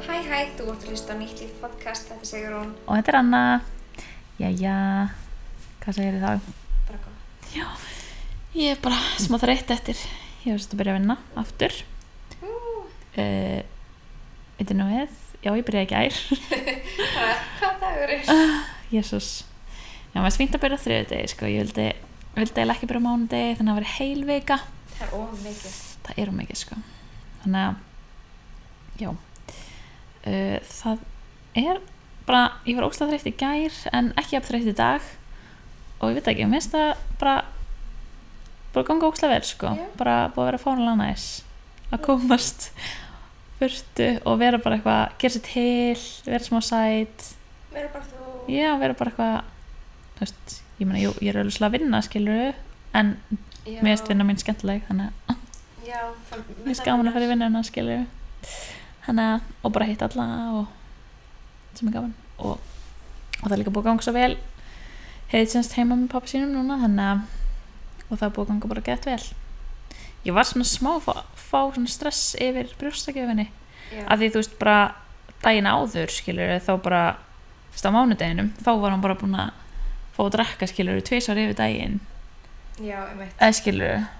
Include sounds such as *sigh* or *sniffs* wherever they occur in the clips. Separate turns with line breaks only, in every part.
Hæ hæ, þú ert að hlusta á nýtt líf podcast, þetta er Sigrún,
og þetta er Anna Jæja, hvað segir þið þá?
bara kom.
Ég er bara smá þreytt eftir Ég var sérst að byrja að vinna aftur uh, Veitir nú við Já, ég byrjaði í gær *laughs*
Hvað dagur er?
Jésús Já, maður er svínt að byrja þriðudegi sko. Ég vildi, vildi eiginlega ekki byrja á mánudegi þannig að það var heil vika
Það er of mikið.
það er um ekki sko þannig að já uh, það er bara, ég var óslega þreytt í gær en ekki að þreytt í dag og ég veit ekki, mér finnst það bara bara ganga óslega vel sko
Já.
bara búið að vera fánulega næs að komast burtu og vera bara eitthvað, gera sér til vera smá sæt
Verður bara þú.
já, vera bara eitthvað þú veist, ég meina, jú, ég er alveg að vinna skilur en
Já.
mér finnst vinna mín skemmtileg þannig að
Já, það
Mér finnst gaman að fara í vinnuna, skilju Þannig að, og bara hitta alla og sem er gaman og, og það er líka búið að ganga svo vel heiði semst heima með pappa sínum núna þannig að, og það er búið að ganga bara gett vel Ég var svona smá að fá, fá svona stress yfir brjóstakjöfinni
Já,
af því þú veist bara daginn áður skilur þá bara, þú veist á mánudeginum þá var hann bara búin að fá að drakka skilur tvisvar yfir daginn
já, einmitt.
eða skilur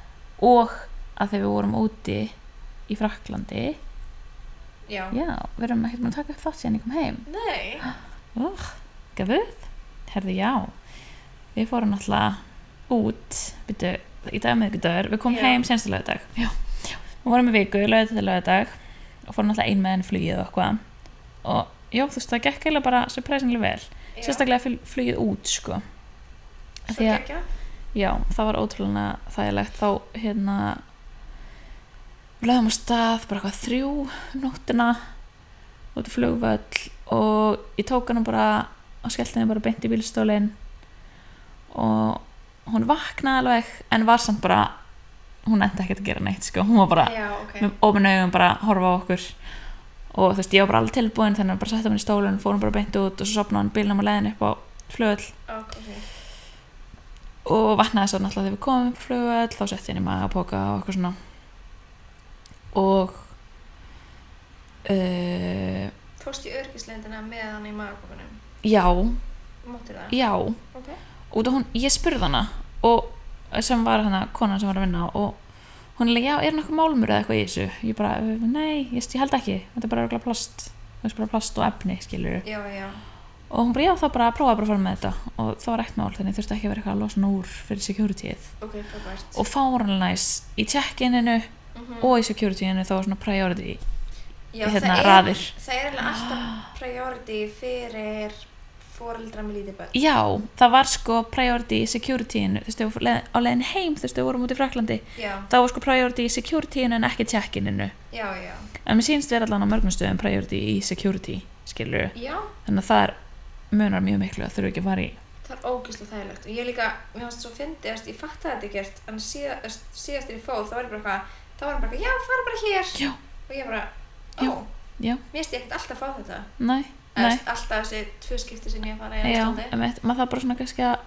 og að þegar við vorum úti í Fraklandi
Já.
já, við erum ekkert búin að hérna, taka upp þátt síðan ég kom heim
Nei.
oh, gafuð, herðu já við fórum náttúrulega út byrju, í dag með ykkur dagur, við komum
Já.
heim senstu lögadag já, við vorum í viku lögadag til lögadag og fórum náttúrulega ein með enn flugið og eitthvað og já, þú veist, það gekk eiginlega bara surprisingly vel,
Já.
sérstaklega fl- flugið út sko Af
Svo
því að-
geggja.
Já, það var ótrúlega þægilegt þá hérna lögum á stað, bara eitthvað þrjú um nóttina út í flugvöll og ég tók hana bara og skellti henni bara beint í bílstólin og hún vaknaði alveg en var samt bara hún endi ekkert að gera neitt sko, hún var bara
Já, ok.
með ofin augum bara að horfa á okkur og þú veist, ég var bara alveg tilbúin þannig að bara setja henni í stólinn, fór hún bara beint út og svo sopnaði hann bílnum á leiðin upp á flugvöll
Ok.
og vatnaði svo náttúrulega þegar við komum upp flugvöld þá setti ég henni maður að póka og eitthvað svona og uh,
Fórst í örgislendina með hann í magakofunum.
já,
Máttir það?
já
Ok.
út af hún, ég spurði hana og sem var hana, konan sem var að vinna og hún er líka, já, er nokkuð málmur eða eitthvað í þessu ég bara, "Eh, nei, ég, ég held ekki þetta er bara örugglega plast, það er bara plast og efni skilur
Já, já.
og hún bara, já, þá bara prófaði bara að fara með þetta og það var ekkert mál, þannig þurfti ekki að vera eitthvað að losa núr fyrir securityð
Ok, frábært.
og fáranlæs í check-ininu
Mhm.
og í security-inu þá var svona priority
Já,
hérna,
það er-
raðir. Ah.
Það er alveg alltaf priority fyrir fóreldra með lítið börn.
Já, það var sko priority í security-inu, þú veist, ef við leið- á leiðin heim, þú veist, ef við vorum út í Fraklandi,
Já,
þá var sko priority í security-inu en ekki check-ininu.
já, já.
En mér sýnst vera allan á mörgum stöðum priority í security, skilur
Já,
Þannig að það er, munar mjög miklu að þurfa ekki að fara í.
Það er ógeðslega þægilegt og ég líka, mér fannst svo fyndið, þú veist, ég fattaði þetta ekkert en síðast, síðast þegar ég fór þá var ég bara eitthvað, þá var ég bara eitthvað, já, fara bara hér
Já.
og ég bara, ó,
Já. Já,
mér finnst ég ekkert alltaf að fá þetta
nei,
Eða,
nei.
þú veist, alltaf þessi tvö skipti sem ég fara í
Já,
Íslandi
emitt, maður það bara svona kannski að,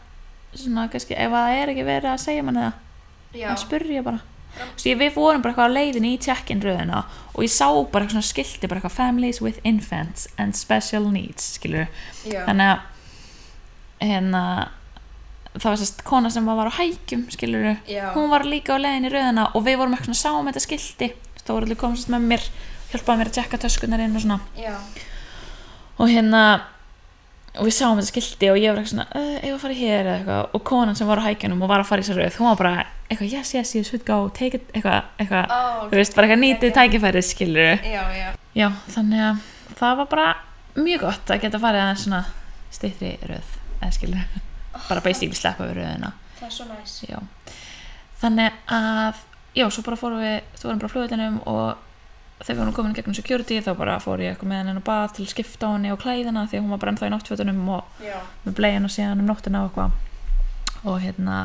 svona kannski, ef það er ekki verið að segja manni það,
Já,
það spurja bara
Já.
Svo ég, við vorum bara eitthvað á leiðin í check-in röðina og ég sá bara eitthvað svona skilti bara eitthvað families with infants and special needs skilur
já,
þannig að hérna það var sérst kona sem var á hækjum skilur
já,
hún var líka á leiðin í röðina og við vorum eitthvað svona sáum þetta skilti þá voru allir komið sérst með mér hjálpaði mér að tjekka töskunar inn og svona
já,
og hérna og við sáum þetta skilti og ég var eitthvað svona "Eh, eigum við að fara hér eða eitthvað og konan sem var á hækjunum og var að fara í sér röð hún var bara eitthvað yes yes yes should go take it eitthvað eitthvað
ó,
þú veist bara eitthvað nýtið tækifæri skilur
já, já,
já þannig að það var bara mjög gott að geta farið aðeins svona steytri röð eða skilur bara basically sleppa við röðina
það er svo næs
já þannig að já svo bara fórum við þú varum bara flugvöldinum og þegar við vorum komin í gegnum security þá bara fór ég eitthvað með henni á bað til að skipta á henni og klæðina því að hún var bara ennþá í náttfötunum og
Já,
með bleiðan og síðan um nóttina og eitthvað og hérna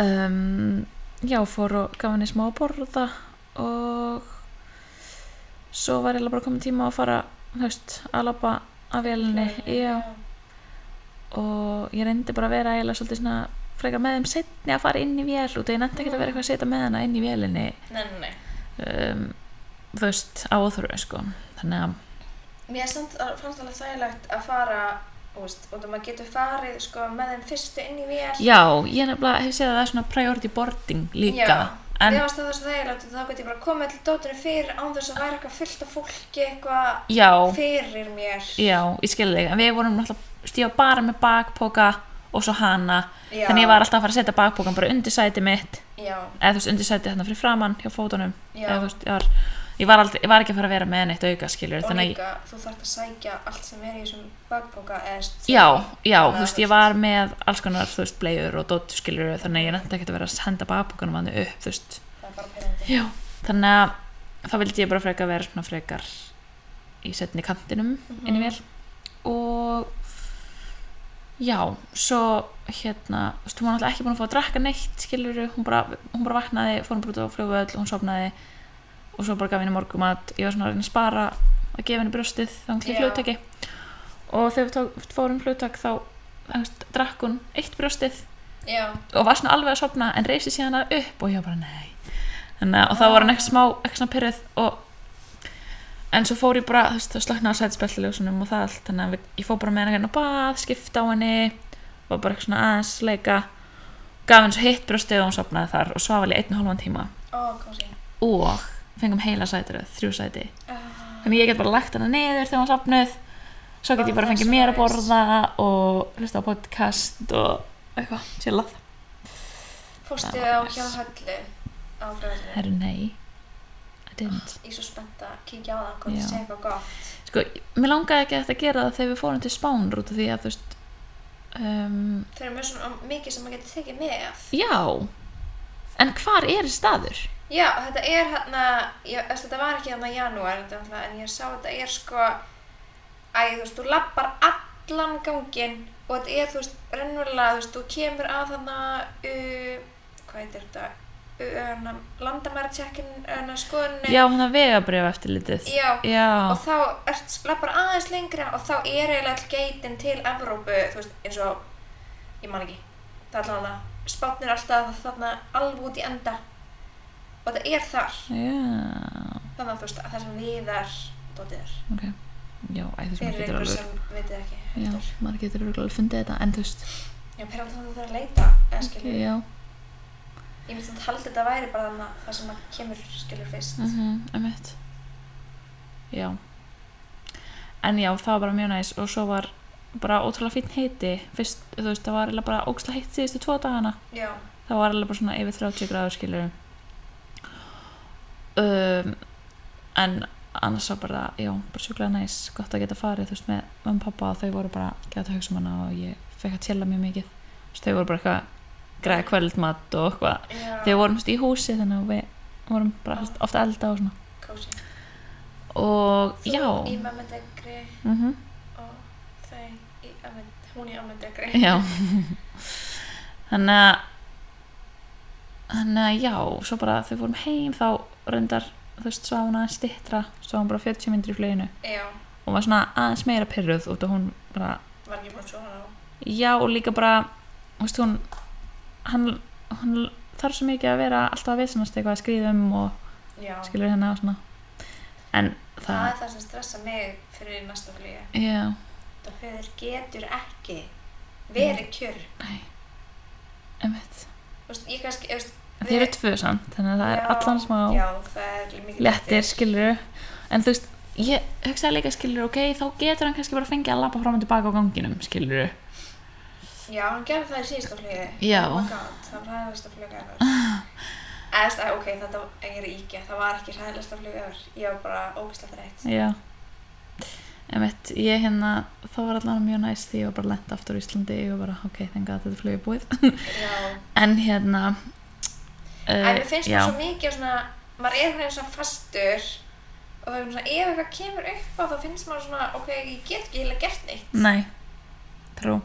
um, já, fór og gaf henni smá að borða og svo var ég bara komin tíma að fara þú veist, að labba að vélinni já, og ég reyndi bara að vera eiginlega svolítið svona frekar með þeim setni að fara inn í vél út og ég nefndi ekki að vera eitthvað að setja með hana inn í vélinni
Nei, nei, nei,
um, þú veist, á óþörfu sko. þannig að
Mér samt að- fannst alveg þægilegt að fara, þú veist, og það maður getur farið sko með þeim fyrstu inn í vél.
já, ég nefnilega hef séð að það er svona priority boarding líka
Já,
en
mér fannst það svo þægilegt og þá gæti ég bara komið allir dótunum fyrir án þess að væri eitthvað fullt af fólki eitthvað
já,
fyrir mér.
já, ég skilði þig en við vorum náttúrulega stífa bara með bakpoka og svo hana
Já.
þannig ég var alltaf að fara að setja bakpokan bara undir sæti mitt
Já,
eða þú veist undir sæti þarna fyrir framann hjá fótunum
Já.
eða þú veist, ég var, ég var, aldrei, ég var ekki að fara að vera með neitt auka skilur
og
þannig að,
líka þú þarft að sækja allt sem er í þessum bakpoka eða st-
já,
Þannig
já,
að
þú veist, ég var með alls konar, þú veist, bleiur og dóttu skilur þannig að ég nefndi ekki að vera að henda bakpokanum hann upp, þú veist,
það er bara pyrrandi.
já, þannig að það vildi ég bara frekar vera svona frekar í setni kantinum inn í Mhm. vel og já, svo hérna, þú veist, hún var náttúrulega ekki búin að fá að drakka neitt skilur, hún bara, hún bara vaknaði fór hún bara út á fljóðvöld, hún sofnaði og svo bara gaf henni morgum að ég var svona að reyna að spara að gefa henni brjóstið þá hún til
Já.
fljóttaki og þegar við tók, fórum fljóttak þá þú veist, drakk hún eitt brjóstið
Já,
og var svona alveg að sopna en reysi síðan að upp og ég var bara nei Þannig, að- og þá var hann eitthvað smá, eitthvað svona pyrrið og en svo fór ég bara þú veist, þá slaknaði sætspelliljósunum og það allt þannig að við- ég fór bara með henni hérna á bað, skipta á henni var bara eitthvað svona aðeins leika gaf henni svo hitt brjóstið og hún sopnaði þar og svaf alveg einn og hálfan tíma
ó, kósi.
og fengum heila sætiröð, þrjú sæti þannig ég get bara lagt hana niður þegar hún sopnuð svo get ég bara
Ó,
fengið
svo
mér
næs.
að borða og hlusta á podcast og eitthvað, chillað
Fórstu
Það
á
var
hjá
nice.
höllu á fræðinu.
Herru, nei. I didn't.
Ég er svo spennt að kíkja á það, hvort
Já.
það sé eitthvað gott.
Sko, mér langaði ekki eftir að gera það þegar við fórum til Spánur út af því að, þú veist, um,
Þeir eru mjög svona mikið sem maður getur tekið með.
já. En hvar er staður?
Já, þetta er hérna, ég- þú veist, þetta var ekki hérna í janúar, þetta er náttúrulega, en ég sá að þetta er sko, æ, þú veist, þú lappar allan ganginn og þetta er, þú veist, raunverulega, þú veist, þú kemur að þarna, uh, hvað heitir þetta, uh, landamæra tjekkin, uh, skoðunni,
Já, hann að vegabrjöf eftir litið.
Já.
Já,
og þá ert lappar aðeins lengra og þá er eiginlega all geitin til Evrópu, þú veist, eins og, ég man ekki, það er allavega, spátnir alltaf þarna alveg út í enda og þetta er þar.
já,
Þannig að þú veist að það sem viðar dótið er
ok. Já, æ, þú veist, maður
fyrir
getur
ykkur
alveg,
sem vitið ekki
já,
heldur.
maður getur alveg fundið þetta, en þú veist,
Já, perandi þannig að þú þarf að leita eða skilur
já,
Ég myndi að halda þetta væri bara þannig það sem að kemur skilur fyrst
mhm, einmitt. Já. En já, það var bara mjög næs og svo var bara ótrúlega fín heiti, fyrst, þú veist, það var eiginlega bara óksla heitt síðustu tvo dagana.
Já,
það var alveg bara svona yfir 30 gráður skilur um, en annars var bara, já, bara sjúklega næs gott að geta farið, þú veist, með mamma og pappa þau voru bara gett að hugsa um hana og ég fekk að tjela mjög mikið, þú veist, þau voru bara eitthvað græða kvöldmatt og eitthvað
já,
þau vorum, þú veist, í húsi þannig að við vorum bara, þú veist, ofta elda og svona
kósi
og,
Þú
já
í mömmendegri
mm
og þau í amend, hún í ammendegri
Já *laughs* Þannig að Þannig að já, svo bara þegar við fórum heim þá reyndar, þú veist, svo hún aðeins stittra svo hún bara 40 myndir í fluginu
Já,
og var svona aðeins meira pyrruð út og hún bara,
var ekki búin svo hana á
já og líka bara þú veist, hún hann, hann þarf svo mikið að vera alltaf að vissanast eitthvað að skrýðum og
Já,
skilur hérna og svona en
það
það,
er það sem stressa mig fyrir næsta flugi
já,
Það höfður getur ekki verið kjör
nei einmitt,
Þú veist, ég kannski, þú veist
þeir eru tvö samt þannig að það er allan smá
Já, það er mikið
léttir, skilur en þú veist, ég hugsaði léka skilur ok, þá getur hann kannski bara fengið að lappa fram og tilbaka á ganginum, skilur
Já, hann gerði það í síðasta flugi.
Já.
Oh my god, það var hræðilegsta flug ever.
*laughs*
Eða, þú veist, æ, ok, þetta var, ég er íkja, það var ekki hræðilegsta flug ever. Ég var bara ógeðslega þreytt.
já Emitt, ég hérna, þá var allan mjög næst því ég var bara lent aftur í Íslandi ég var bara, ok, þengi að þetta flugið er búið
Já.
en hérna
Æ,
uh,
mér finnst það svo mikið svona, maður er hvernig svona fastur og það er svona, ef eitthvað kemur upp á þá finnst maður svona, ok, ég get ekki heila gert neitt.
nei, trú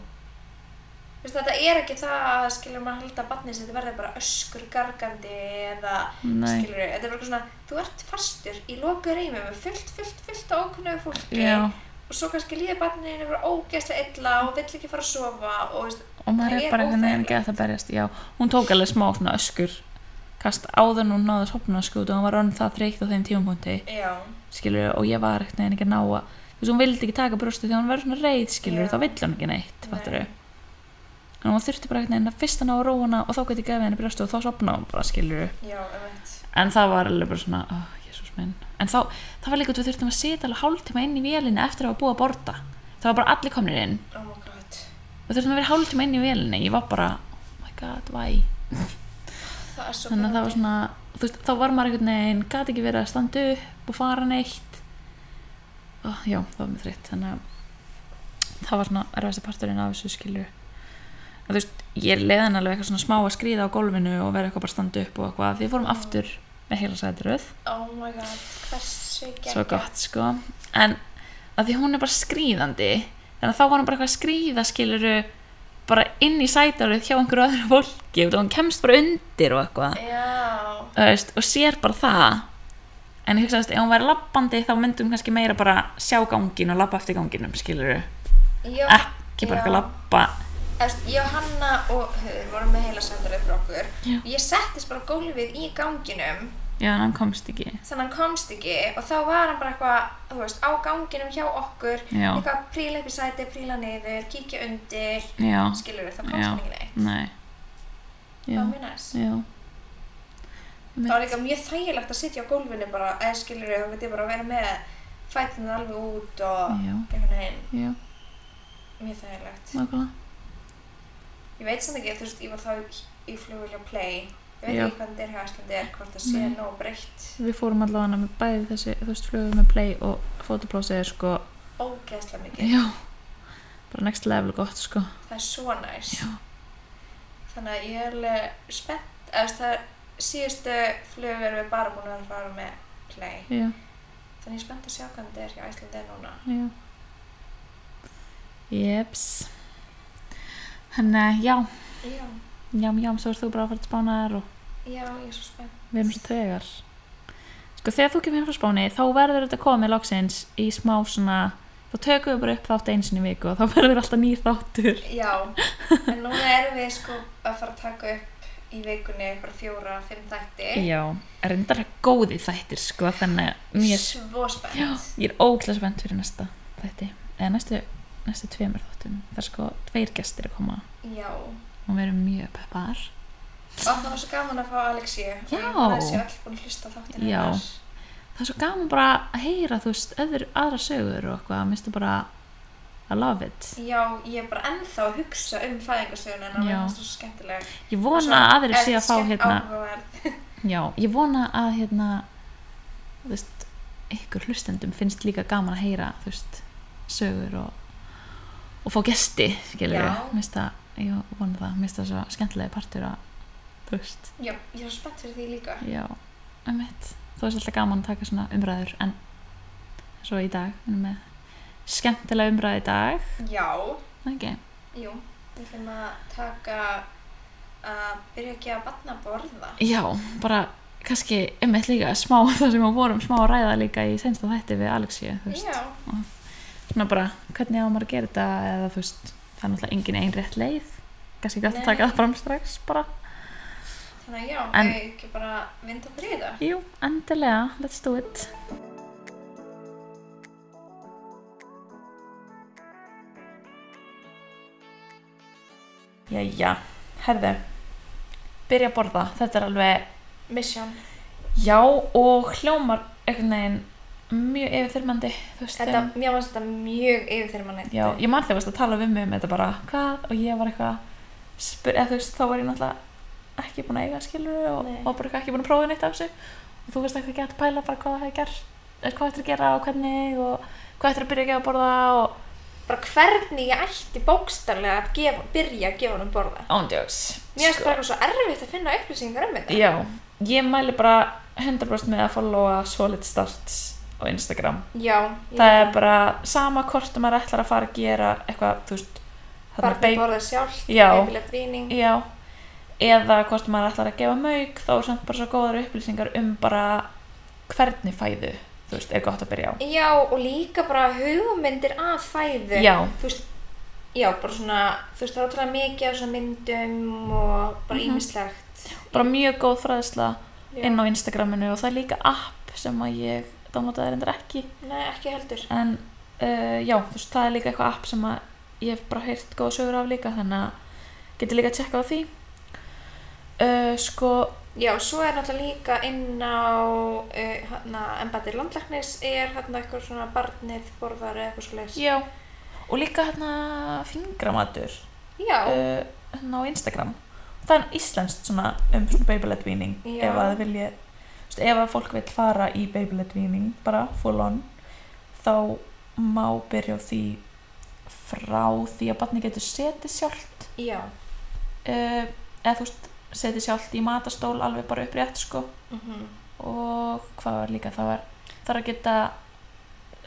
Þú veist, þetta er ekki það að skilur maður halda að barnið sitt verði bara öskur gargandi eða
Nei.
skilur, þetta er bara eitthvað svona, þú ert fastur í loku rými með fullt, fullt, fullt á okkunnögu fólki.
já,
og svo kannski líður barninu bara ógeðslega illa og vill ekki fara að sofa og veist,
og maður
Það
er
er
bara einhvern veginn
óþægilegt.
ekki að það berjast já, hún tók alveg smá svona öskur kast áður nú náðu sopna sko og hann var orðin það þreytt á þeim tímapunkti
já,
skilur og ég var ekkert neginn ekki að ná að þú veist hún vildi ekki taka brjóstu þegar hún var svona reið skilur
Já.
þá vildi hún ekki neitt
Nei.
fattur þannig að hún þurfti bara ekkert neginn að fyrst að ná að róa hana og þá gæti ég gefið henni brjóstu og þá sopna hún bara skilur
já, einmitt.
en það var alveg bara svona oh, jésús minn en þá, það var líka út við þurftum að sita alveg hálftíma inn í vélinni eftir að hafa búið að borða það var bara allir komnir inn
Oh my god.
og þurftum að vera hálftíma inn í vélinni ég var bara, oh my god, why
Það er svo
þannig að það var
pirrandi.
svona þú veist, þá var maður einhvern veginn, gæti ekki verið að standa upp og fara neitt oh, já, það var mér þreytt þannig að það var svona erfæsta parturinn af þessu skilju að þú veist, ég leðan alveg eitthvað svona smá að skríða á gólfinu og vera eitthvað bara að standa upp og eitthvað, við fórum aftur með heila sætiröð,
Oh my god, hversu geggjað.
svo gott sko en að því hún er bara skríðandi þannig að þá var hún bara eitthvað að skríða skiluru bara inn í sætaröð hjá einhverju öðru fólki og hún kemst bara undir og eitthvað
Já,
Þú veist, og sér bara það en ég hugsaðist, ef hún væri lappandi þá myndi hún kannski meira bara sjá gangin og lappa eftir ganginum, skilur
já.
ekki
Já.
bara eitthvað lappa
Efst, Johanna og Hugur voru með heila sendalið fyrir okkur.
Já.
Ég settist bara á gólfið í ganginum,
já, en hann komst ekki
þannig hann komst ekki og þá var hann bara eitthvað, þú veist, á ganginum hjá okkur,
Já.
eitthvað að príla upp í sæti, príla niður, kíkja undir,
já,
skilur við, það komst
já,
hann ekki neitt.
nei
Það
já,
var mjög næst.
já
Það var líka mjög þægilegt að sitja á gólfinu bara, eða skilur við, þá veit ég bara að vera með fætinu alveg út og
já,
einhvern veginn,
já,
mjög þægilegt.
nákvæmlega
Ég veit samt ekki, þú veist, ég var þá í- í flugvölja play. Ég veit
Já. Mm.
ekki hvað þetta er hjá Æslandi er, hvort það sé
Nei.
nóg breytt.
við fórum allavega með bæði þessi, þú veist, flugum með play og fótoplásið er sko
Ógeðslega mikið.
já, bara next level gott sko
Það er svo næs.
Já.
Þannig að ég er alveg spennt, eða þú veist, það er síðustu flug erum við bara búin að vera að fara með play.
já,
Þannig ég er spennt að sjá hvað þetta er hjá Æslandi er núna.
Já. Jeps. Þannig að já,
Já,
já, já, svo ert þú bara að fara til spánaðar og
já, ég er svo spennt.
við erum svo tregar. Sko þegar þú kemur hérna frá spáni þá verður þetta komið loksins í smá svona, þá tökum við bara upp þátt einu sinni í viku og þá *laughs* verður alltaf nýr þáttur.
Já, en núna erum við sko að fara að taka upp í vikunni eitthvað fjóra, fimm þætti.
Já, reyndar góði þættir sko, þannig að mér,
Svo spennt.
ég er ógæslega spennt fyrir næsta þætti, eða næstu, næstu tveimur þáttum. Það er sko tveir gestir að koma
Já.
og við erum mjög peppar.
Og það var svo gaman að fá Alexíu og
Já.
ég var þessi öll búin að hlusta á þáttinn
Já.
hennar.
það er svo gaman bara að heyra þú veist, öður, aðra sögur og eitthvað minnstu bara I love it
Já, ég er bara ennþá að hugsa um fæðingarsögun en það
Já.
var svo skemmtileg.
ég vona að aðrir sé að fá hérna
Áhugaverð.
já, ég vona að hérna þú veist, ykkur hlustendum finnst líka gaman að heyra þú veist, sögur og og fá gesti, skilur
Já.
við minnst það, ég vona það, minnst það svo skemmtilegi partur að, þú veist
Já, ég er svo spennt fyrir því líka.
já, um mitt þú veist alltaf gaman að taka svona umræður en svo í dag, við erum með skemmtilega umræði í dag
Já,
Það ekki?
jú, við ætlum að taka að byrja að gefa barna að borða.
Já, bara kannski einmitt líka smá *laughs* það sem við vorum smá að ræða líka í sensta þætti við Alexíu, þú veist.
Já,
Svona bara, hvernig á maður að gera þetta eða þú veist, það er náttúrulega engin ein rétt leið. Kannski gætt að taka
Nei.
það fram strax bara.
þannig að já,
En-
við ekki bara vinda okkur í þetta.
Jú, endilega, let's do it. Jæja, herðu, byrja að borða, þetta er alveg
Mission.
Já, og hljómar einhvern veginn mjög yfirþyrmandi þú veist, um
Þetta,
þeim-
mér fannst þetta mjög yfirþyrmanlegt.
Já, ég man þegar varst að tala við mig um þetta bara hvað og ég var eitthvað spyr, eða þú veist, þá var ég náttúrulega ekki búin að eiga skilur og,
Nei.
og bara eitthvað ekki búin að prófa neitt af þessu og þú veist eitthvað gett pæla bara hvað það hefði gert eða hvað ættir að gera og hvernig og hvað ættir að byrja að gefa að borða og
Bara hvernig ég ætti bókstarlega að gefa, byrja að gefa um hann að borða.
ándjóks
Mér finnst bara eitthvað svo erfitt að finna upplýsingar um þetta.
Sko- Já, ég mæli bara 100% með að followa Solid Starts á Instagram
Já. ég-
það er bara sama hvort að maður ætlar að fara að gera eitthvað, þú veist þarna
Barnið
beik-
borðar sjálft,
Já.
heimilegt víning.
já, eða hvort að maður ætlar að gefa mauk þá er samt bara svo góðar upplýsingar um bara hvernig fæðu þú veist, er gott að byrja á
Já, og líka bara hugmyndir að fæðu.
já,
Þú veist, já, bara svona, þú veist, það er ótrúlega mikið af svona myndum og bara
Mhm.
ímislegt.
bara mjög góð fræðsla
Já.
inn á Instagraminu og það er líka app sem að ég downloadaði reyndar ekki
Nei, ekki heldur.
en uh, já, þú veist, það er líka eitthvað app sem að ég hef bara heyrt góða sögur af líka þannig að getur líka að tjekka á því uh, sko,
Já, svo er náttúrulega líka inn á uh, hana, embættir landlæknis er hérna eitthvað svona barnið borðar eða eitthvað svo leiðis.
já og líka hérna fingramatur
Já,
uh, hérna á Instagram það er íslenskt svona um svona babylet víning
Já.
ef að þið vilja þú veist, ef að fólk vil fara í babylet víning bara full on þá má byrja á því frá því að barni getur setið sjálft
já.
uh, eða þú veist setið sjálft í matastól alveg bara upprétt sko
Mm
og hvað var líka það var þarf að geta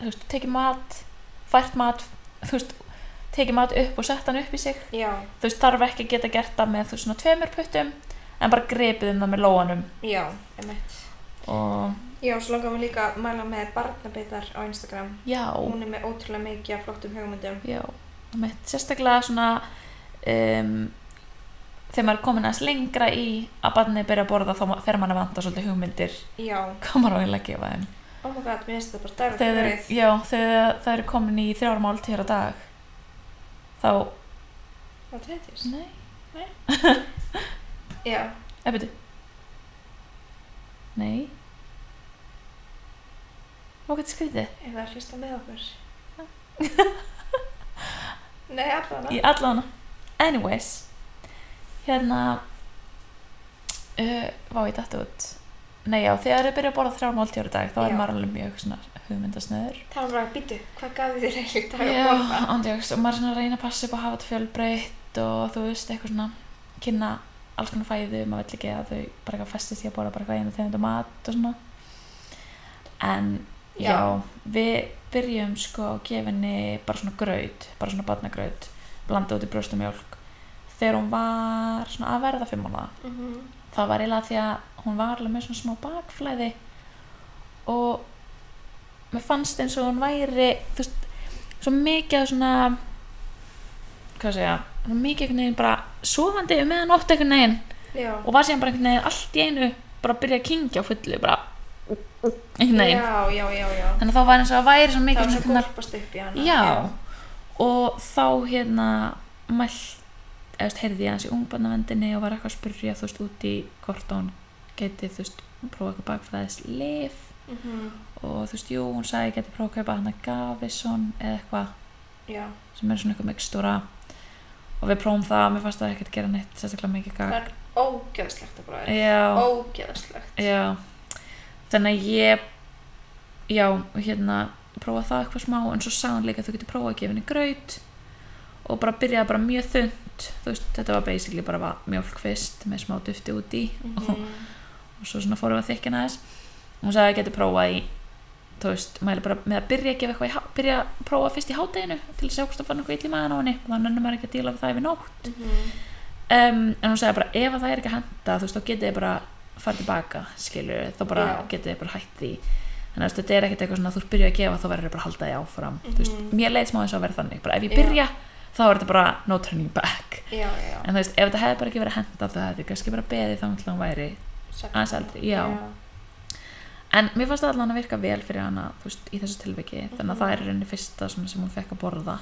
þú veist, tekið mat, fært mat þú veist, tekið mat upp og sett hann upp í sig
Já,
þú veist, þarf ekki að geta gert það með þú veist, svona tveimur puttum en bara grepið um það með lóanum
já, einmitt.
og
Já, svo langar við líka að mæla með barnabeitar á Instagram.
já,
Hún er með ótrúlega mikið af flottum hugmyndum.
já mitt, sérstaklega svona um, þegar maður er komin aðeins lengra í að barnið byrja að borða þá ma- fer maður að vanta svolítið hugmyndir *laughs*
Já,
hvað maður á eiginlega að gefa þeim
oh my god, mér finnst þetta bara dagur
þegar, þeir- já, þegar það eru komin í þrjár máltíðar á dag þá,
Hvað treytist?
nei,
Já,
eða byrju nei og hvað skrítið
ef það er hlusta með okkur. *laughs* Nei, allavega.
í allan anyways hérna uh, vá ég dættu út nei já þegar þau byrja að borða þrjá máltíður í dag þá er
Já.
maður alveg mjög svona hugmyndasnöður
Það var bara, býtu, hvað gaf þið þér eiginlega í dag að borða?
já andjóks og maður er svona að reyna að passa upp að hafa þetta fjölbreytt og þú veist eitthvað svona kynna alls konar fæðu maður vill ekki að þau bara eitthvað festist í að borða bara eitthvað einu tegund og mat og svona en já, við byrjum sko að gefa henni bara svona graut, bara svona barnagraut blanda út í brjóst og mjólk þegar hún var svona að verða fimm mánuða
Mhm.
það var eiginlega því að hún var alveg með svona smá bakflæði og mér fannst eins og hún væri þú veist, svo mikið af svona hvað segja svo mikið einhvern veginn bara sofandi um meðan ótt einhvern veginn
Já.
og var síðan bara einhvern veginn allt í einu bara að byrja að kingja á fullu bara einhvern veginn
Já, já, já, já.
þannig að þá var eins og að væri svo
Það
mikið
var svo
svona knar-
gólpast upp í hana.
Já, og þá hérna mæl, eða þú veist, heyrði ég aðeins í ungbarnavendinni og var eitthvað að spyrja þú veist út í hvort hún geti þú veist, prófa eitthvað bakfræðis lif
Mhm.
og þú veist, jú, hún sagði ég geti prófa að kaupa hann að Gavison eða eitthvað
Já,
sem er svona eitthvað mikstúra og við prófum það, mér fannst það ekkert gera neitt sérstaklega mikið
það
gag
er ógeðslegt að bróða.
Já,
Ógeðslegt.
já þannig að ég já, hérna, prófa það eitthvað smá en svo sagði hann líka að þú getur prófað að gefa henni graut og bara byrjaði bara mjög þund þú veist, þetta var basically bara va- mjólk fyrst með smá dufti út í og,
Mhm.
og svo svona fórum við að þykja aðeins og hún sagði að ég geti prófað í þú veist, mæli bara með að byrja að gefa eitthvað í, há- byrja að prófa fyrst í hádeginu til að sjá hvort það fann eitthvað ill í maðan á henni og þannig að maður ekki að díla við það yfir nótt
Mhm.
um, en hún segja bara ef að það er ekki að henda þú veist þá getið þið bara farið tilbaka skilur þá bara
Já.
getið þið bara hætt því þannig að þú veist, þetta er ekkert eitthvað svona þú byrjuð að gefa þá verður þið bara að halda því áfram þú veist,
Mhm.
mér leiðis má þess að vera þannig bara ef ég
Já.
byrja þá er þetta bara no turning back
Já, já.
en þú veist ef þetta hefði bara ekki verið að henda þá hefði ég kannski bara beðið þá um að hún væri
Sex.
aðeins eldri, já. en mér fannst það allan að virka vel fyrir hana þú veist í þessu tilviki þannig að það er í rauninni fyrsta svona sem hún fekk að borða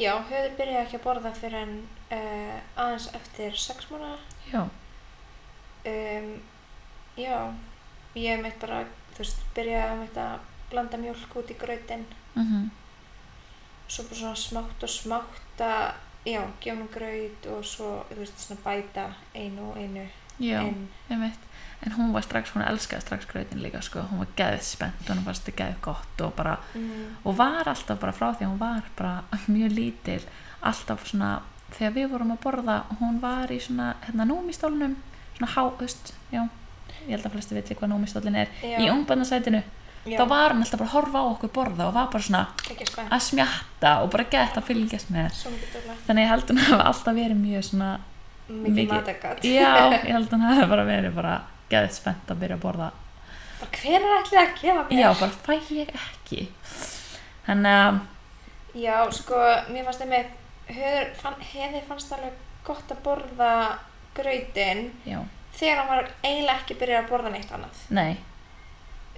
Já, höfðu byrjaði ekki að borða fyrir en uh, aðeins eftir sex mánuða.
já,
Um, já, ég meitt bara, þú veist, byrjaði að meitt að blanda mjólk út í grautinn.
mm
Mhm. Svo bara svona smátt og smátt að, já, gefa hún graut og svo, þú veist, svona bæta einu og einu
já.
inn.
Einmitt. En hún var strax, hún elskaði strax gröðin líka sko, hún var geðið spennt og hún fannst þetta geðið gott og bara,
Mm,
og var alltaf bara frá því að hún var bara *laughs* mjög lítil, alltaf svona, þegar við vorum að borða, hún var í svona, hérna númistólnum, svona há, þú veist, já, ég held að flesti viti hvað númistólin er,
Já.
í ungbarnasætinu,
já,
þá var hún alltaf bara að horfa á okkur borða og var bara svona
ekki spennt.
að smjatta og bara gett að fylgjast með þess.
Svo mikið dörlega.
Þannig ég held hún hafa alltaf verið mjög svona Mikið.
Mikið matagat. *laughs*
Já, ég held að hún hefði bara verið bara geðið spennt að byrja að borða
Bara, Hver er ætlið að gefa mér?
Já, bara fæ ég ekki Þannig að
Já, sko, mér fannst það með, hefði fannst alveg gott að borða grautinn,
Já,
þegar hann var eiginlega ekki byrjað að borða neitt annað
Nei,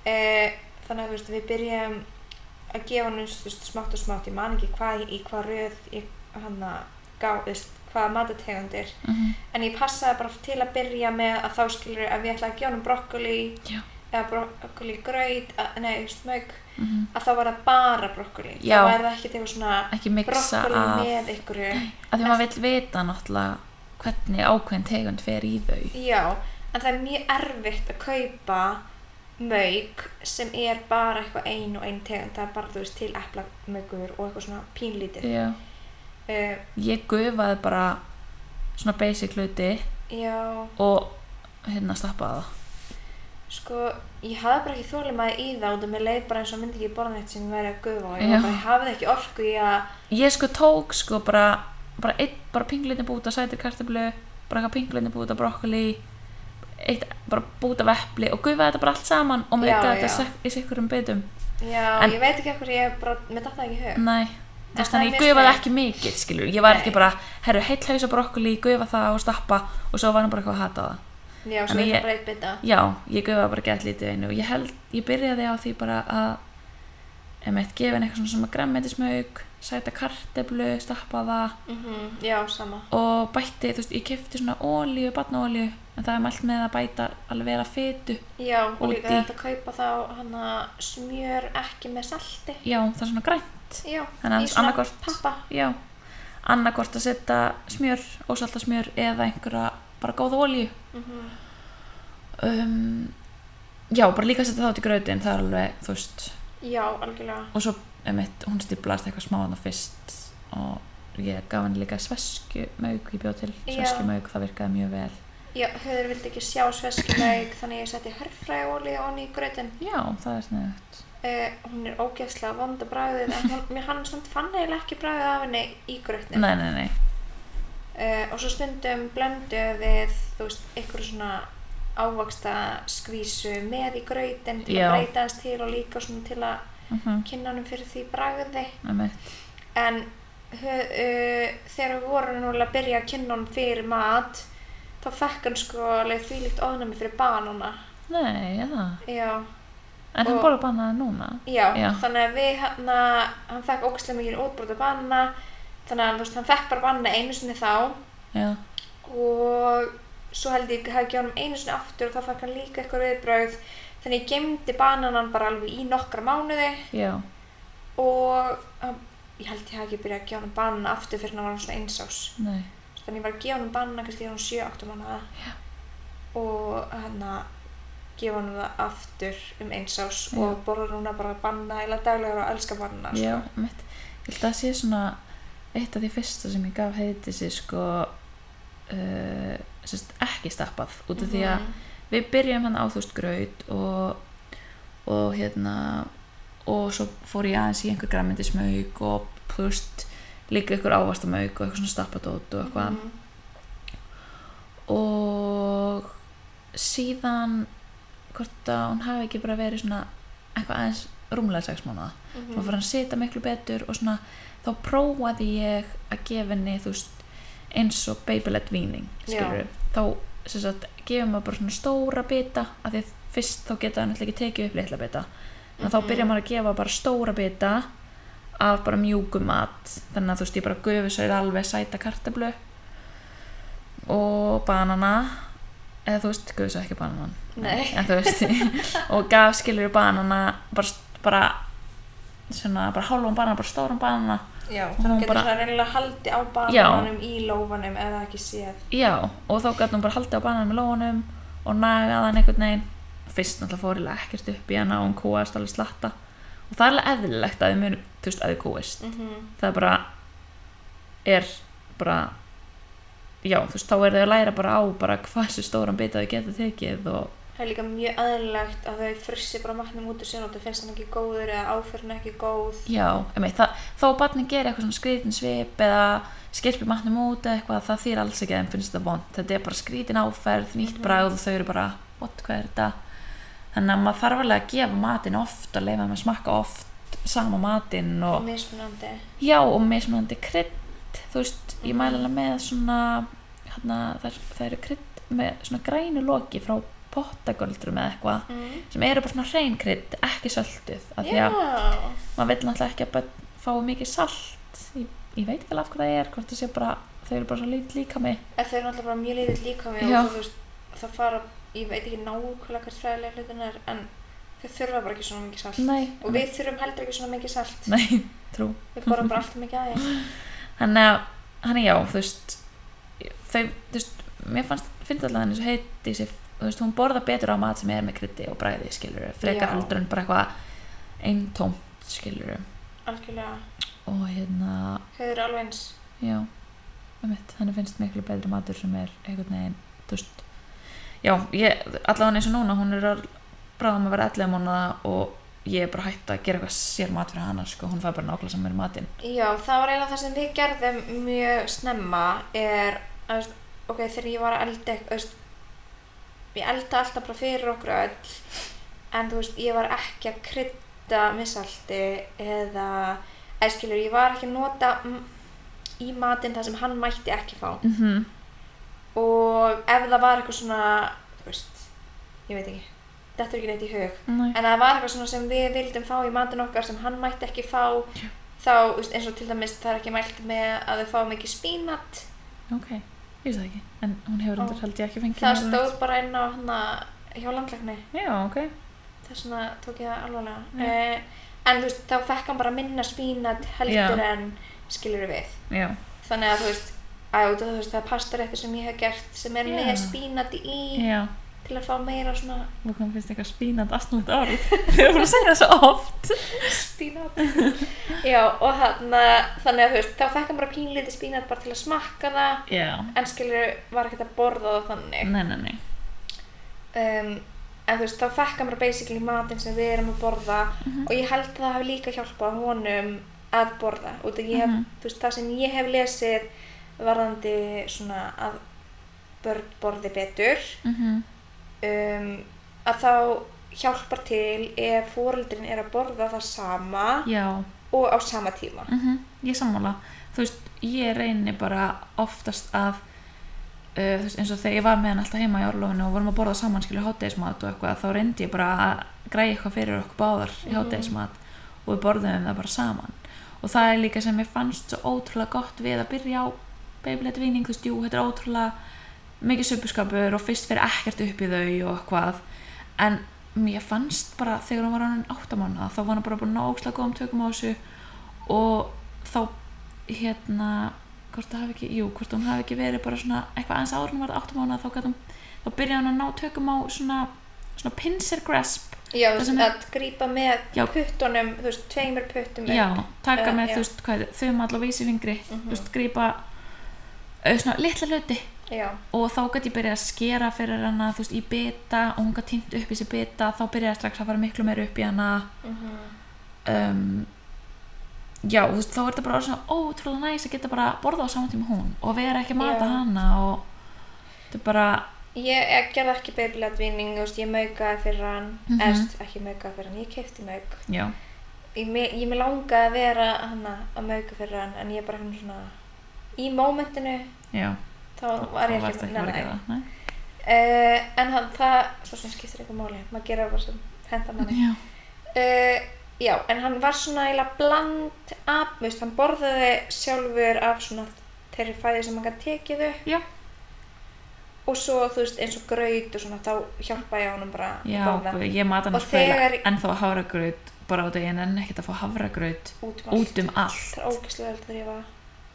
Eh, þannig að þú veist, við byrjum að gefa hann veist, smátt og smátt ég man ekki hvað, í hvað röð ég hann að gá, þú veist, hvaða matategundir
mm
en ég passaði bara til að byrja með að þá skilur ef ég ætla að gefa hann brokkoli
Já.
eða brokkoli gröyt nei, smög, að þá var það bara brokkoli
Já.
þá var það ekkert eitthvað svona
ekki miksa
brokkoli
af
með einhverju
að því maður vill vita náttúrulega hvernig ákveðin tegund fer í þau
já, en það er mjög erfitt að kaupa mög sem er bara eitthvað ein og ein tegund það er bara, þú veist, til eplagmögur og eitthvað svona pínlítið
Já.
uh,
ég gufaði bara svona basic hluti
já,
og hérna stappaði það
sko, ég hafði bara ekki þólimaði í það út og mér leið bara eins og myndi ekki borða neitt sem ég væri að gufa og ég,
Já.
var bara, ég hafði ekki orku í að
ég sko tók sko bara bara, einn, bara pinglitni búta sætir kartablu bara eitthvað pinglitni búta brokkoli eitt bara búta vepli og gufaði þetta bara allt saman og mér
Já,
eitthvað
já.
þetta sekk- í sikkurum bitum
já,
En-
ég veit ekki okkur ég bara, mér datt það ekki í hug
Nei, þú veist
það er
þannig ég
mismunandi.
gufaði ekki mikið skilur, ég var ekki
Nei.
bara herru heill haus og brokkoli, gufa það og stappa og svo var hann bara eitthvað að hata það
já, svo
En
ég
ég-
bara eitt bita
Já, ég gufaði bara gett lítið einu og ég held, ég byrjaði á því bara að ef meitt gefa henni eitthvað svona sem að græmmetismauk sæta karteblu, stappa það
mm já, sama
og bætti, þú veist, ég kefti svona ólíu, barnaólíu, en það er mælt með að bæta alveg vera fytu
já, og
Út
líka
í.
þetta kaupa þá hann að smjör ekki með salti
Já, það er svona grænt
já,
Þannig að
í svona
annarkort-
pappa
Já, annarkort að setja smjör, ósalta smjör eða einhverja bara góða ólíu
mm
um, já, bara líka að setja það út í gröðin það er alveg, þú veist
já, algjörlega
og svo, emitt, hún stíplast eitthvað smáðan og fyrst og ég gaf henni líka sveskjumauk ég bjóð til
Já.
sveskjumauk, það virkaði mjög vel
já, höður vildi ekki sjá sveskjumauk þannig að ég setti hörfræjóli onni í grötin
já, það er sniðugt
Uh, hún er ógeðslega vonda bræðið en hún, mér hann samt fann eiginlega ekki bræðið af henni í grötnum
nei, nei, nei,
uh, og svo stundum blönduðum við þú veist, ykkur svona ávaksta skvísu með í grötin til
Já.
að breyta hans til og líka svona til að
uh -huh.
kynna hann fyrir því bræði
emitt
en hö, uh, þegar við vorum núlega að byrja að kynna hann fyrir mat þá fekk hann sko alveg þvílíkt ofnæmi fyrir banana
nei, eða,
já,
en hann
Og-
bara bannaði núna
Já,
Já.
þannig að við hann, hann fekk ógæslega mikið útbrot af banna þannig að þú veist, hann fekk bara banna einu sinni þá
já,
og svo held ég hafði gjá hann einu sinni aftur og þá fekk hann líka eitthvað viðbröð þannig ég gemdi bananan bara alveg í nokkra mánuði
já,
og um, ég held ég hafði ekki byrjað að gjá hann banna aftur fyrir hann var hann svona einsás
nei
þannig ég var að gefa hann banna kannski þegar hann 7-8 mánuða og hann að gefa hann það aftur um einsás
Já.
og borður núna bara banna eða daglegar og elska banna
Já, mitt. Ég held að það sé svona eitt af því fyrsta sem ég gaf heiti sér sko uh, sérst, ekki stappað
sko.
út af því
Mhm.
að við byrjum hann á þú veist gröyt og, og hérna og svo fór ég aðeins í einhver græmyndismauk og þú veist líka einhver ávastamauk og eitthvað svona stappadót og eitthvað
Mhm.
og síðan hvort að hún hafi ekki bara verið svona eitthvað aðeins rúmlega sex mánuða
Mhm.
svo fór hann að sita miklu betur og svona þá prófaði ég að gefa henni þú veist eins og babylet víning skilur þá sem sagt gefum maður bara svona stóra bita af því að fyrst þá geta hann alltaf ekki tekið upp litla bita en þá
Mhm.
byrja maður að gefa bara stóra bita af bara mjúkum mat þannig að þú veist ég bara gufi sér alveg sæta kartablu og banana eða þú veist, gufi sér ekki bananan
Nei.
en þú veist *laughs* og gaf skilur banana bara, bara svona bara hálfum banana, bara stórum banana
Já,
hún
þannig getur
bara-
svona reynilega haldið á
Já.
bananum í lófanum eða ekki séð
Já, og þá gæti hún bara haldið á bananum í lóunum og nagaði hann einhvern veginn fyrst náttúrulega fór ég ekkert upp í hana og hún kúast alveg slatta og það er alveg eðlilegt að þið munu, þú veist, að þið kúist
mm
það bara er bara já, þú veist, þá er þau að læra bara á bara hvað sem stóran bita þau geta tekið og
Það er líka mjög aðlilegt að þau frissi bara matnum út úr sér og þau finnst hann ekki góður eða áferðin ekki góð
já, emi, það, þó að barnin gerir eitthvað svona skrítin svip eða skerpi matnum út eða eitthvað, það þýr alls ekki að þeim finnst þetta vond, þetta er bara skrítin áferð nýtt bragð og þau eru bara, what, hvað er þetta þannig að maður þarf alveg að gefa matin oft og leifa með að smakka oft sama matin og
og mismunandi
Já, og mismunandi krydd, þú veist, ég mæla alveg með svona, hérna, það, það eru krydd með svona grænu loki frá pottagöldrum eða eitthvað
Mm.
sem eru bara svona hreinkrydd, ekki sölduð af því
Já.
að maður vil náttúrulega ekki að börn fái mikið salt ég, ég veit ekki alveg af hvað það er hvort það sé bara, þau eru bara svo lít líka mig
En þau eru náttúrulega bara mjög liðið líka mig
Já.
og þú veist, það fara, ég veit ekki nákvæmlega hvert fræðilega hlutin er, en þau þurfa bara ekki svona mikið salt.
Nei.
Og við þurfum heldur ekki svona mikið salt.
nei, trú
Við borum bara alltaf mikið aðeins.
þannig að, þannig já, þú veist þau, þú veist, mér fannst finnst alltaf henni svo heiti sér þú veist, hún borða betur á mat sem er með krytti og bræði skilur, frekar
Já.
heldur en bara eitthvað eintómt skilur
Algjörlega.
og hérna,
Þau eru alveg eins.
já einmitt, henni finnst miklu betri matur sem er einhvern veginn, þú veist já, ég, allavega eins og núna hún er að bráðum að vera 11 mánuða og ég er bara hætt að gera eitthvað sér mat fyrir hana, sko, hún fær bara nákvæmlega saman með matinn
Já, það var eiginlega það sem við gerðum mjög snemma er, að, þú veist, ok, þegar ég var að elda eitthvað, þú veist, ég elda alltaf bara fyrir okkur öll, en þú veist, ég var ekki að krydda með salti eða, eða skilur, ég var ekki að nota mm, í matinn það sem hann mætti ekki fá.
mm -hmm.
Og ef það var eitthvað svona, þú veist, ég veit ekki, þetta er ekki neitt í hug, en ef það var eitthvað svona sem við vildum fá í matinn okkar sem hann mætti ekki fá þá þú veist, eins og til dæmis það er ekki mælt með að þau fá mikið spínat
Ok, ég veist það ekki, en hún hefur
Ó.
undir held ég ekki fengið
það
neina-
stóð bara inn á hana hjá landlækni
Já, ok,
þess vegna tók ég það
Já.
alvarlega eh, en þú veist, þá fekk hann bara minna spínat heldur en skilur við
já,
þannig að þú veist, að, þú veist það er pastaréttur sem ég hef gert sem er
Já.
með spínat í
já
til að fá meira svona
Nú kom finnst eitthvað spínand astnulegt orð *laughs* Þið erum búin að segja það svo oft
spínat *laughs* já og hann þannig að þú veist, þá fekk hann bara pínlítið spínat bara til að smakka það
Já,
en skilur var ekkert að borða það þannig
nei, nei, nei
um, en þú veist þá fekk hann bara basically matinn sem við erum að borða
Mhm.
og ég held að það hafi líka hjálpað honum að borða út af ég hef,
Mhm.
þú veist það sem ég hef lesið varðandi svona að börn borði betur
mm
Mhm. um, að þá hjálpar til ef fóreldrin er að borða það sama
Já,
og á sama tíma
mm ég sammála Þú veist, ég reyni bara oftast að uh, þú veist, eins og þegar ég var með hann alltaf heima í orlofinu og vorum að borða saman skilur hátegismat og eitthvað þá reyndi ég bara að græja eitthvað fyrir okkur báðar í hátegismat og við borðum það bara saman og það er líka sem ég fannst svo ótrúlega gott við að byrja á babylet vinning, þú veist, jú, þetta er ótrúlega mikið söpuskapur og fyrst fyrir ekkert upp í þau og eitthvað en mér fannst bara þegar hún var hann áttamána þá var hann bara búin að ókslega góðum tökum á þessu og þá hérna hvort það hafi ekki, jú, hvort hún hafi ekki verið bara svona eitthvað aðeins áður en hún var áttum ána þá, gat hún, þá byrjaði hún að ná tökum á svona, svona pincer grasp
já, þú
Það
veist,
sem er-
að grípa með
Já.
puttunum þú veist, tveimur puttum upp.
já, taka
Eh, já.
með
Mhm.
þú veist hvað, þau maður allavega vísi fingri þú veist, grípa eh, svona litla hluti
já,
og þá gæti ég byrjað að skera fyrir hana þú veist, í beta og hún gæti týnt upp í sér beta þá byrjaði strax að fara miklu meir upp í hana
mm
um, já, þú veist, þá er þetta bara orðið svona ótrúlega næs að geta bara borða á saman tíma og hún og vera ekki að mata
Já.
hana og þetta er bara
Ég, ég gerði ekki babylatvinning, þú veist, ég maukaði fyrir hann, mm
Mhm.
-hmm. eðst, ekki maukaði fyrir hann, ég kefti mauk.
já,
Ég, mig- ég mig langaði að vera hann að mauka fyrir hann, en ég bara hann svona, í mómentinu,
já
þá var ég ekki,
varstu ekki bara að gera það nei?
Uh, en hann, það, svo sem skiptir eitthvað máli, maður gera bara sem henda manni.
já,
Uh, já, en hann var svona eiginlega bland af, þú veist, hann borðaði sjálfur af svona þeirri fæði sem hann gæti tekið upp
já,
og svo, þú veist, eins og graut og svona, þá hjálpaði ég honum bara að
já
borða.
guð, ég mata hana
Og þegar-
en þá háragraut bara á deginn en ekkert að fá hafragraut
út um allt.
út um allt
Það er ógæslega vel þegar ég var.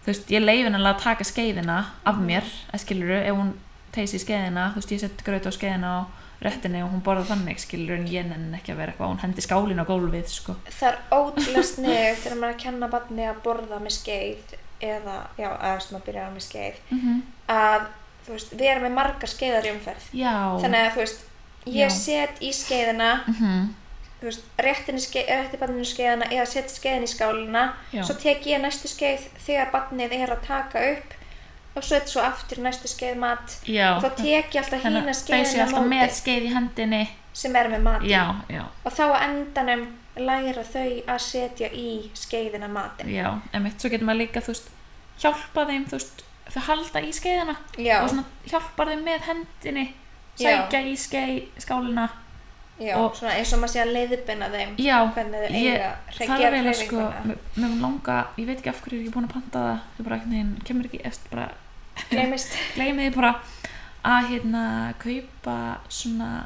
þú veist, ég leiði henni að taka skeiðina af
Mm.
mér, að skiluru, ef hún teysi í skeiðina, þú veist, ég sett graut á skeiðina á réttinni og hún borða þannig skiluru en ég nenni ekki að vera eitthvað, hún hendi skálin á gólfið, sko
Það er ótrúlega sniðugt þegar maður er að kenna barni að borða með skeið eða, já, að sem að byrja með skeið
mm -hmm.
að, þú veist, við erum með margar skeiðar í umferð.
já,
Þannig að, þú veist, ég
Já.
set í skeiðina,
Mhm.
þú veist, réttin, skeið, rétti barninu skeiðina eða set skeiðin í skálina,
Já.
svo tek ég næstu skeið þegar barnið er að taka upp og set svo aftur næstu skeið mat
já
og þá tek ég alltaf
þannig
hína
að þau séu
skeiðina
alltaf með
móti
skeið í hendinni
sem er með mat.
já, já,
og þá á endanum læra þau að setja í skeiðina matinn
já, emitt, svo getur maður líka þú veist, hjálpa þeim þú veist, þau halda í skeiðina
já,
og svona hjálpar þeim með hendinni
Já.
sækja í skeið skálina
já,
og-
svona eins og maður sé að leiðbina þeim
já,
hvernig þeir
ég
eiga að
það er
gera
eiginlega sko
hreyfinguna.
*laughs* mér mér langa, ég veit ekki af hverju ég er ekki búin að panta það þau bara ekki neginn, kemur ekki eftir bara
gleymist
gleymiði bara að hérna kaupa svona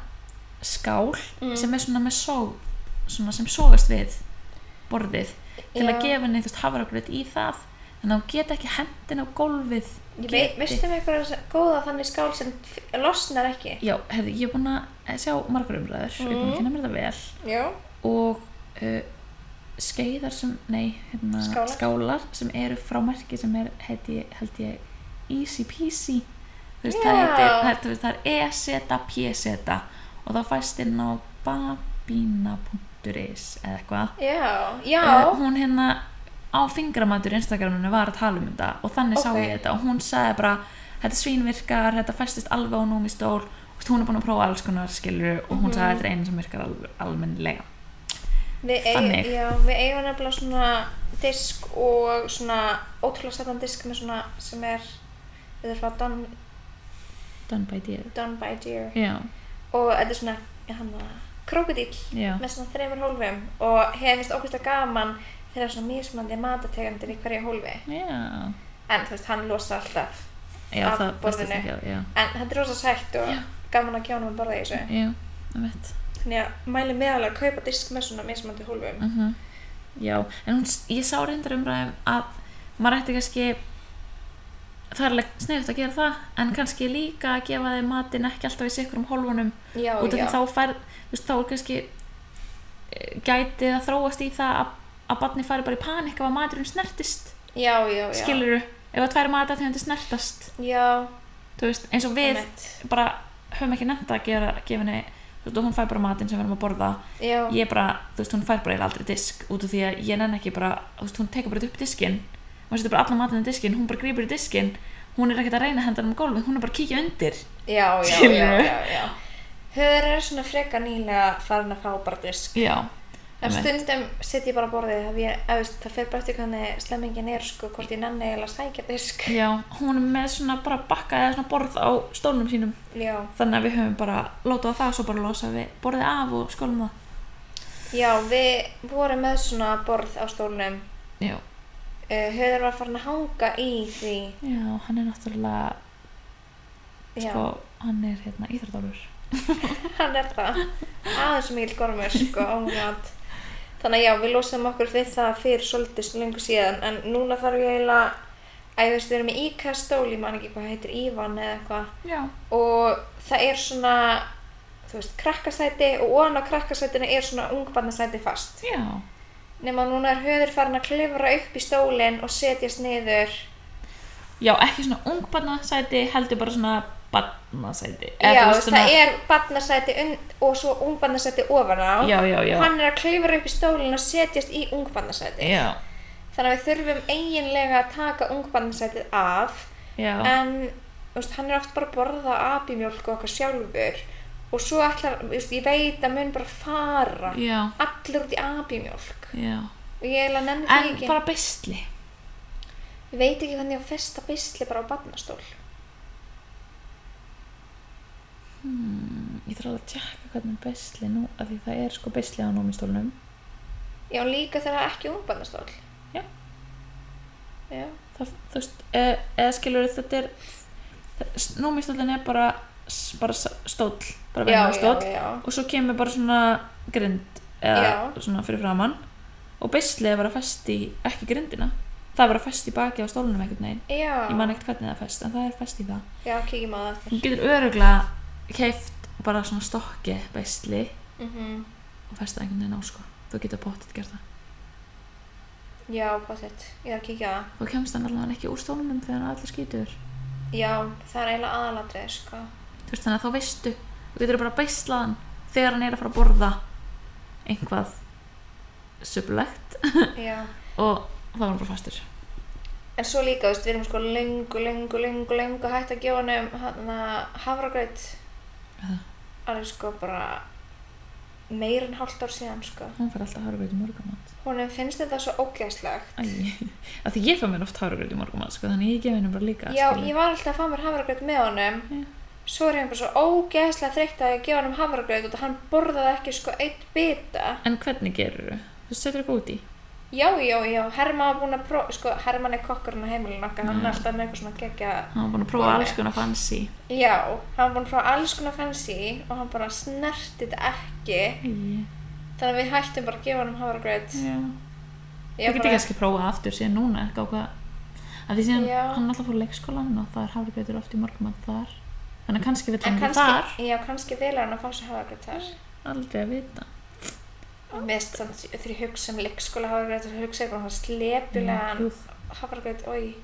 skál
Mm.
sem er svona með só svona sem sógast við borðið til
Já.
að gefa henni þú veist hafragröð í það þannig að hún geta ekki hendin á gólfið
Ég
geti.
veit, veistu með einhverja góða þannig skál sem f- losnar ekki?
já, hefði, ég er búin að sjá margar umræður ég er búin
Mm.
að kynna mér það vel
Já.
og uh, skeiðar sem, nei, hérna,
Skálar.
sem eru frá merki sem er, heiti, held ég Easy Peasy þú veist, það
Já.
heitir, það, þú veist, það er E E-seta, P-seta og þá fæst inn á babina.is eða eitthvað
Já, já,
Eh, hún hérna á fingramatur Instagraminu var að tala um þetta og þannig sá
Ok.
ég þetta og hún sagði bara þetta svínvirkar, þetta festist alveg á númi stól Þú veist, hún er búin að prófa alls konar skilur og hún
Mhm.
sagði þetta er einu sem virkar alveg, almennilega
við eigum,
þannig.
já, við eigum nefnilega svona disk og svona ótrúlega sætan disk með svona sem er, þetta er frá Done,
Done by dear
Done by Deer
Já,
og þetta er svona, já, hann að krokodíll
já,
með svona þreymur hólfum og hefur finnst ókvæmst gaman þegar það er svona mismunandi matategundir í hverju hólfi
já,
en þú veist, hann losa alltaf
já
Af
það
borðinu.
bestist ekki á, já,
en þetta er rosa sætt og gaman að kjána með borða í þessu
já, það veit,
Þannig að mæli meðalega að kaupa disk með svona mismandi hólfum.
mhm, já, en hún, s- ég sá reyndar umræðum að maður ætti kannski, það er alveg sniðut að gera það, en kannski líka að gefa þeim matinn ekki alltaf í sikrum hólfunum,
Já,
út af
já.
því þá færð, þú veist, þá er kannski eh, gætið að þróast í það að, að barni fari bara í panik ef að maturinn snertist,
já, já, já.
skiluru, ef að tvær matategundir snertast,
Já,
þú veist, eins og við
einmitt.
bara höfum ekki nefnt að gera, gefa henni þú veist, og hún fær bara matinn sem við erum að borða
Já,
ég bara, þú veist, hún fær bara eiginlega aldrei disk út af því að ég nenn ekki bara, þú veist, hún tekur bara upp diskinn, maður setur bara allan matinn í diskinn, hún bara grýpur í diskinn hún er ekkert að reyna að henda hann um gólfið, hún er bara að kíkja undir
já, já,
Skilurðu?
já, já, já. Hör er svona frekar nýlega farin að fá bara disk.
já,
En
einmitt.
stundum set ég bara á borðið ef ég, ef veist, það fer bara eftir hvernig slemmingin er sko, hvort ég nenni eiginlega að sækja sko. disk.
já, hún er með svona bara bakka eða svona borð á stólnum sínum
Já,
þannig að við höfum bara látað það svo bara losa við borðið af og skólum það
já, við vorum með svona borð á stólnum.
já,
Uh, Höður var farin að hanga í því.
já, hann er náttúrulega
Já,
sko, hann er hérna íþrótálfur
*laughs* hann er það aðeins mikil gormur sko oh my god. þannig að já, við losum okkur við það fyrir svolítið svo lengur síðan en núna þarf ég eiginlega að ég veist, við erum með IKEA stól, ég man ekki hvað heitir Ívan eða eitthvað
já,
og það er svona þú veist, krakkasæti og ofan á krakkasætinu er svona ungbarnasæti fast
já
nema núna er höður farin að klifra upp í stólinn og setjast niður
Já, ekki svona ungbarnasæti, heldur bara svona barnasæti. Eða
já,
þú
þú
veist
veist, það er barnasæti und- og svo ungbarnasæti ofan á
Já, já, já.
hann er að klifra upp í stólinn og setjast í ungbarnasæti
Já,
Þannig að við þurfum eiginlega að taka ungbarnasætið af
já,
en þú veist, hann er oft bara að borða abimjólk og okkar sjálfur og svo ætlar, þú veist, ég veit að mun bara fara
já,
allir út í abimjólk
já.
og ég eiginlega nenni
En
því ekki
bara beisli.
ég veit ekki hvernig ég á festa bisli bara á barnastól
Ég þarf alveg að tjekka hvernig beisli nú, af því það er sko beisli á nómistólnum.
já, líka þegar það er ekki ungbarnastól
Já.
já,
Það, þú veist, e, eða skilur þetta er, nómistólnin er bara, s- bara s- stóll, bara
já,
venjulegur
já,
stóll.
já.
Og svo kemur bara svona grind, eða
Já.
svona fyrir framann. Og beisli er bara fest í, ekki grindina, það er bara fest í baki á stólnum einhvern veginn.
já,
Ég man ekkert hvernig það er fest, en það er fest í það.
já, kíkjum á það eftir
Hún getur öruglega keift bara svona stokki beisli
mm
og festa einhvern veginn á sko. Þú getur bóttið gert það.
já, báttið, ég þarf að kíkja á það
Þú kemst hann allavega ekki úr stólunum þegar hann er allir skítur.
já, það er eiginlega aðalatrið,
*laughs*
sko
Þú veist þannig að þá veistu. Þú getur bara beislað hann þegar hann er að fara að borða einhvað sublegt
já
og þá er hann bara fastur.
En svo líka, þú veist, við erum sko lengu, lengu, lengu, lengu hægt að gefa hann um hana hafragraut.
Já.
Alveg sko bara, meir en hálft ár síðan sko.
Hún fær alltaf hárugröð í morgumat.
Honum finnst þetta svo ógeðslegt.
Æ, af því ég fær mér oft hárugröð í morgumat, sko, þannig ég gef henni bara líka.
Já,
skilur.
ég var alltaf að fá mér hafragraut með honum.
Já.
Svo er ég bara svo ógeðslega þreytt að ég gefa honum hafragraut og hann borðaði ekki sko eitt bita.
En hvernig gerur þau? Þú setur eitthvað út í?
Já, já, já, Herman var búinn að prófa, sko, Herman er kokkurinn á heimilinu okkar, hann er alltaf með eitthvað svona gegja,
Hann var búin að prófa alls konar fancy.
já, hann var búinn að prófa alls konar fancy og hann bara snerti þetta ekki,
Æ,
þannig að við hættum bara að gefa honum hafragraut.
já.
Ég
Ég geti
bara-
kannski prófað aftur síðan núna eitthvað hvað að því síðan
Já.
hann alltaf fór í leikskólan og það er hafrigrautur oft í morgumann þar þannig að kannski vill
En
hann kannski... þar
kannski, já, kannski vel er hann að fá sér hafragraut þar.
aldrei að vita
Mest þannig þegar ég hugsa um leikskóla hafragraut og hugsa ég bara hann slepulegan
Úff.
hafragraut, oi.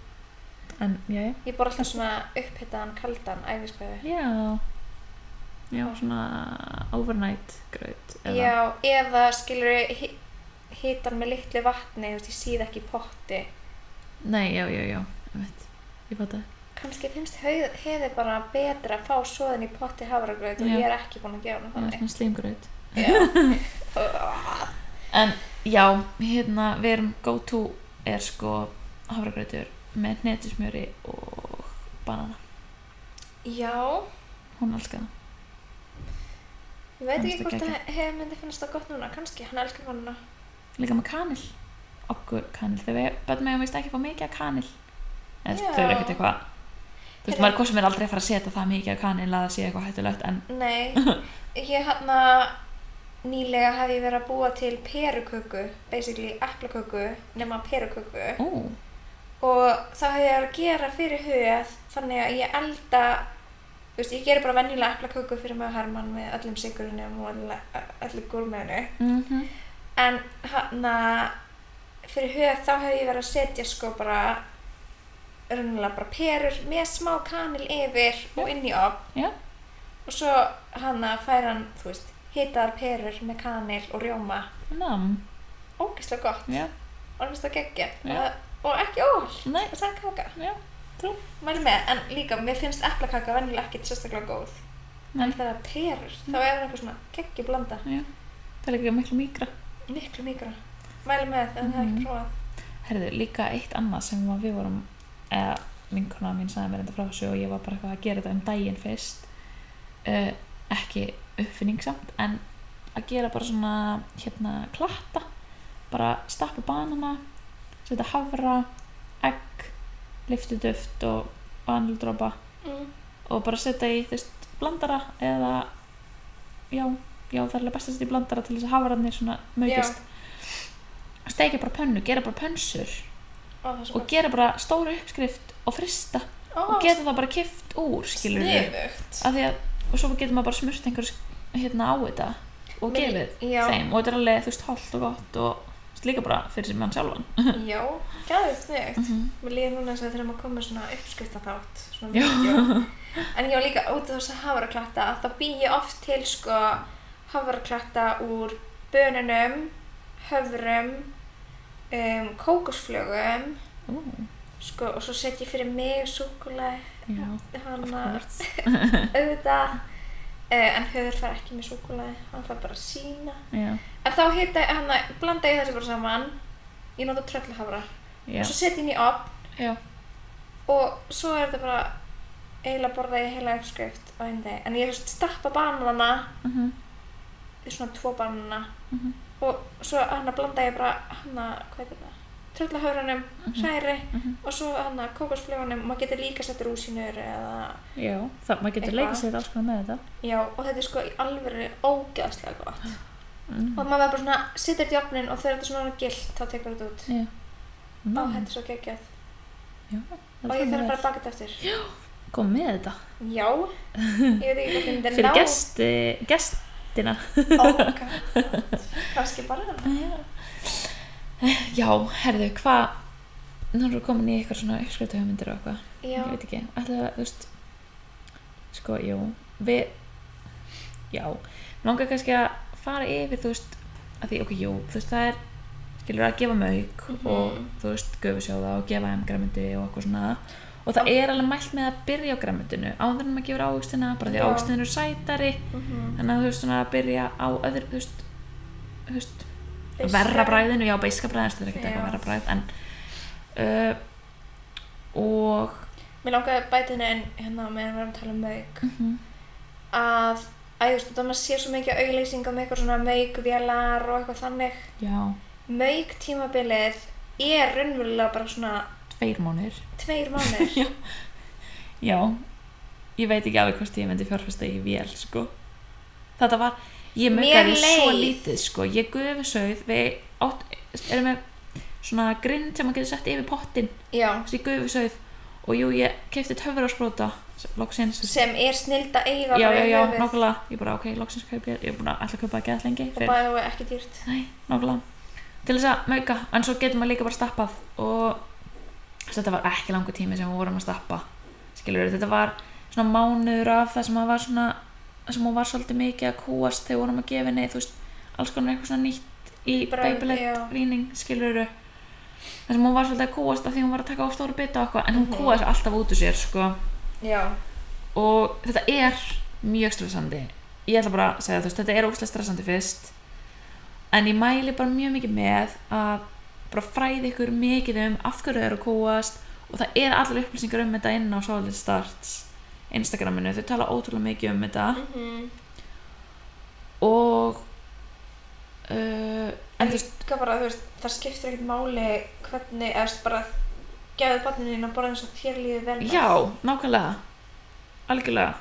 en já, já.
Ég bor alltaf svona upphitaðan, kaldan, æfiskeiði.
já já, svona overnight graut eða
Já, eða skilur ég hitan með litlu vatni, þú veist, ég síð ekki í potti.
nei, já, já, já, ég veit ég fatt
Kannski finnst hauð- heiði bara betra að fá svoðin í potti hafragraut og
Já. Mhm.
ég er ekki búin að gefa hann
það er
þannig.
svona slímgraut *laughs*
Ugh.
en já, hérna við erum go to er sko hafrigrautur með hnetusmjöri og banana
Já,
hún elskar það
ég veit
Fannst
ekki
það
hvort
geggjað.
að heiði myndi finnast það gott núna, kannski, hann elskar konuna.
líka með kanil okkur kanil, þegar við börnum megum veist ekki fá mikið af kanil en
Já.
þau eru ekkert eitthvað þú veist,
Heyrðu.
maður er kosum er aldrei að fara að setja það mikið af kanil að það sé eitthvað hættulegt en
Nei, ég hann nýlega hef ég verið að búa til peruköku, basically eplaköku, nema peruköku.
ú,
og þá hef ég að gera fyrir hugað þannig að ég elda þú veist, ég geri bara venjulega eplaköku fyrir mig og Hermann með öllum sigurunum og öll- öllu gúrmeðinu
mhm,
en hann að fyrir hugað þá hef ég verið að setja sko bara raunlega bara perur með smá kanil yfir og inn í opn
já,
og svo hann að færa hann, þú veist, hitaðar perur með kanil og rjóma
nam
ógeðslega gott,
já,
orðist að geggja
Já.
og ekki ól,
Nei.
það er kaka
já, trú
Mæli með, en líka, mér finnst eplakaka venjulega ekkert sérstaklega góð. En
Nei.
þegar það perur, þá er það eitthvað svona kekkju blanda,
já. það er líka miklu mýkra
miklu mikra. Mæli með það, en það er
Mhm.
ekki prófað.
herðu, líka eitt annað sem að við vorum eða vinkona mín sagði mér þetta frá þessu og ég var bara eitthvað að gera þetta um daginn fyrst uh, ekki uppfinningsamt en að gera bara svona hérna klatta bara stappa banana setja hafra, egg lyftuduft og vanildropa
Mm.
og bara setja í þú veist blandara eða já, já það er alveg best að setja í blandara til þess að hafrarnir svona mögist steikja bara pönnu, gera bara pönsur
Og það er
og gera bara stóra uppskrift og frista
Ó,
og geta það bara kift úr skilur við
sniðugt.
að því að og svo getur maður bara smurt einhvers hérna á þetta og
Mér-
gefið
já.
þeim og þetta er alveg þú veist holdt og gott og þú veist, líka bara fyrir sem mann sjálfan
Já, gæðið sniðugt.
Mhm.
Mér líður núna eins og þegar maður komið svona uppskriftaþátt, svona
Já.
vídeo. En ég var líka út af þess að hafraklatta, að þá bý ég oft til sko hafraklatta úr bönunum, höfrum, um, kókosflögum,
Ú,
Sko, og svo set ég fyrir mig súkulega
já, of
hana
course
*laughs*
*laughs*
auðvitað uh, en höður fær ekki með súkulega hann fær bara sína
já,
en þá hita hann að blanda ég þessu bara saman ég nota tröllhafra
já,
og svo set ég hann í opn
já,
og svo er þetta bara eiginlega borða ég heila uppskrift á einn dag en ég hefst stappa banana
uh
svona tvo banana
Mhm.
og svo hann að blanda ég bara hann að hvað er þetta tröllahafranum,
Mhm.
særi og svo hann að kókosflögunum maður getur líka sett rúsinur eða
já það, maður getur
Eitthvað.
leikið sér alls konar með þetta
Já, og þetta er sko í alvöru ógeðslega gott.
mm.
Og maður verður bara svona, situr þetta í opnin og þegar þetta er svona orðið gilt, þá tekur þetta út.
já,
Ó,
Vá,
þetta er svo geggjað.
já
Og ég þarf að fara að baka þetta eftir. Já.
*gasps* kom með þetta
ég veit ekki hvað þetta er
fyrir gesti, gestina
Ógæð. Kanski bara hana.
já, herðu, hvað nú erum við komin í eitthvað svona uppskrifta hugmyndir og eitthvað,
Já.
ég veit ekki ætlaðu að, þú veist sko, jú, við já, mig langar kannski að fara yfir, þú veist að því, ok, jú, þú veist, það er skilur að gefa mauk
Mhm.
og þú veist, gufusjóða og gefa emgramendi og eitthvað svona og og það er alveg mælt með að byrja á græmyndinu áður en maður gefur ávöxtina bara því
Já.
ávöxtin eru sætari
Mhm.
þannig að þú veist svona að byrja á öðru þú veist, þú veist
Beiska.
verra bræðinu, já beiska bræðinu þetta er ekkert
Já.
eitthvað verra bræð en uh, og
Mér langaði að bæta henni en hérna meðan við erum að tala um mauk
Mhm.
að að þú veist, þú maður sér svo mikið auglýsing um eitthvað svona maukvélar og eitthvað þannig
já,
mauk tímabilið er raunverulega bara svona
tveir mánuðir
tveir mánir
*laughs* Já. já, ég veit ekki alveg hvort ég myndi fjárfesta í vél sko. þetta var, ég
Mér
möggaði svo
leið.
lítið sko. ég gufi sögð við átt, erum með svona grind sem maður getur sett yfir pottin
já,
Þú veist, ég gufi sögð og jú, ég kefti töfur á spróta loksins, þú veist.
sem er snild að eiga
já,
bara
já,
í
já,
höfuð.
nákvæmlega ég bara, ok, loksins kaup ég, ég er búin að alltaf kaupa að geða lengi
og bæði og ekki dýrt
Nei, nákvæmlega til þess að mauka, en svo getur maður líka bara stappað og þess að þetta var ekki langur tími sem við vorum að stappa skilur þetta var svona mánuður af það sem að var svona sem hún var svolítið mikið að kúast þegar við vorum að gefa henni þú veist, alls konar eitthvað svona nýtt í
Bragð, já.
beibilegt víning skilur það sem hún var svolítið að kúast af því hún var að taka á stóru bita og eitthvað en hún kúast alltaf út úr sér sko
já,
og þetta er mjög stressandi ég ætla bara að segja þú veist, þetta er óslega stressandi fyrst en ég mæli bara mjög mikið með að bara fræði ykkur mikið um af hverju þau eru að kúast og það er allir upplýsingar um þetta inn á Solid Starts Instagraminu, þau tala ótrúlega mikið um þetta og uh, en
en þú
þú veist
veist hvað bara, þú veist, það skiptir ekkert máli hvernig, eða þú veist, bara gefið barninu inn að borða eins og þér lífið vel með.
já, nákvæmlega algjörlega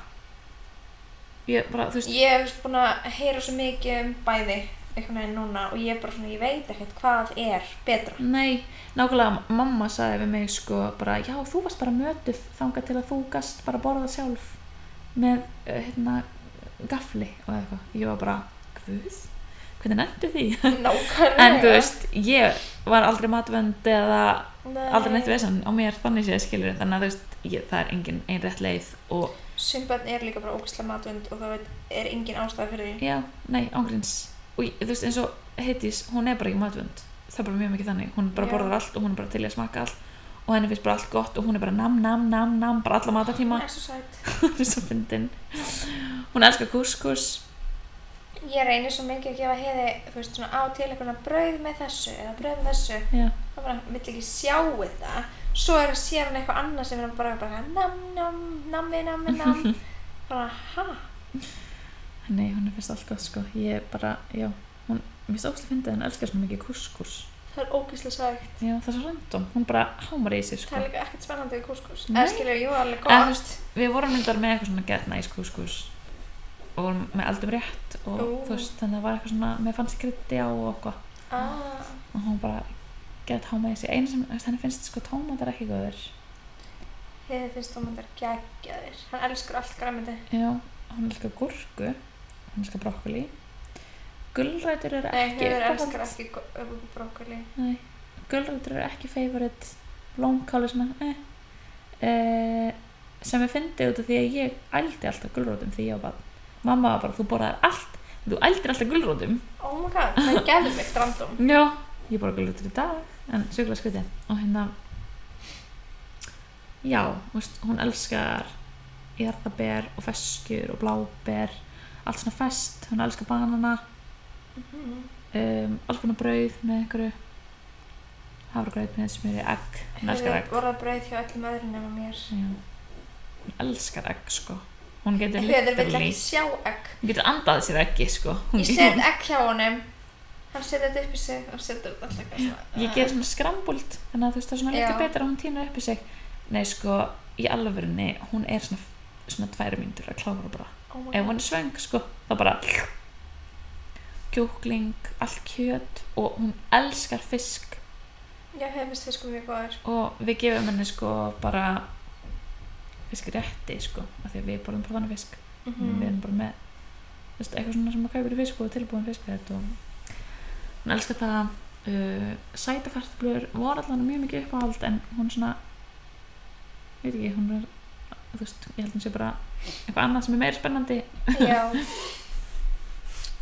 ég bara, þú veist,
Ég hef búin að heyra svo mikið um bæði einhvern veginn núna og ég er bara svona, ég veit ekkert hvað er
*laughs*
betra.
Nei, nákvæmlega mamma sagði við mig sko bara, já þú varst bara mötuð þangað til að þú gast bara borða sjálf með eh, hérna gafli og eitthvað, ég var bara guð, hvernig nefndu því
*laughs* Nákvæmlega.
en þú veist, ég var aldrei matvönd eða
Nei.
aldrei neitt vesen á mér þannig séð skilur þannig að þú veist, ég, það er engin ein rétt leið og
Sum börn er líka bara ógislega matvönd og það veit, er engin ástæð fyrir því.
já, nei, ángríns og ég- þú veist, eins og heitís, hún er bara ekki matvönd það er bara mjög mikið þannig, hún bara
Já.
borðar allt og hún er bara til í að smakka allt og henni finnst bara allt gott og hún er bara nam, nam, nam, nam bara alla
*laughs*
matatíma
Hún er svo sætt.
hún er svo fyndin hún elskar kúskus
Ég reynir svo mikið að gefa heiði, þú veist, svona á til einhverjum brauð með þessu eða brauð með þessu.
já,
Það bara, vill ekki sjá þetta. Svo er að sér hann eitthvað annað sem er bara, bara nam, nam, nammi, nammi,
*laughs*
nam. bara, ha?
nei, hún er finnst allt gott sko ég bara, já, hún mér finnst óslega fyndin, hún elskar svona mikið kúskus
Það er ógislega sætt.
já, það er svo random, hún bara hámar í sig
Það
sko
er líka ekkert spennandi við kúskús.
Nei.
Eða skilur, jú, alveg
Eða, þú
gott.
veist, við vorum myndar með eitthvað svona get nice kúskus og vorum með aldum rétt og
Ú.
þú veist, þannig að það var eitthvað svona mér fannst krytti á og eitthvað
Ah,
og hún bara get hámar í sig einu sem, þú veist, henni finnst sko tómatar ekki góður
þið finnst tómatar geggjaðir. Hann elskur allt græmiti.
já, hún elskar gúrku hún elskar brokkoli gulrætur eru
Nei,
ekki
þið
uppáhalds.
elskar ekki brókoli.
Nei, gulrætur eru ekki favorite blómkál er svona eh. Eh, sem ég fyndi út af því að ég ældi alltaf gulrótum því ég var bara mamma var bara, þú borðar allt en þú ældir alltaf gulrótum
Oh my god, það er geðvikt
*laughs*
random.
já, ég borða gulrótur í dag en sjúkla skriti og hérna já, þú veist, hún elskar jarðaber og feskjur og bláber allt svona fest, hún elskar banana
Mhm.
um, alls konar brauð með einhverju hafragraut með smjöri, egg hún
Hefur
elskar egg
þið vorað brauð hjá öllum öðrum nema mér.
Já. hún elskar egg sko hún getur
Höður vill
literally
ekki sjá egg.
hún getur andað sér eggi sko hún,
Ég set egg hjá honum. Hann setur þetta upp í sig og setur þetta alltaf eitthvað svona.
*laughs* ég ger svona skrambult þannig að þú veist það er svona
Já.
lítið betra að hún týnur upp í sig nei sko í alvörinni hún er svona, svona tværi mínútur að klára bara
Oh my
ef
god.
hún er svöng sko þá bara *sniffs* kjúkling, allt kjöt og hún elskar fisk
Já, hefur finnst þið sko mjög góður.
og við gefum henni sko bara fiskrétti sko af því að við borðum bara þannig fisk
Mhm.
við erum bara með þú veist, eitthvað svona sem maður kaupir í fisk og tilbúin fiskrétt og hún elskar það uh, sætakartblur voru allan mjög mikið uppáhald en hún svona ég veit ekki, hún er þú veist, ég held hún sé bara eitthvað annað sem er meira spennandi
Já,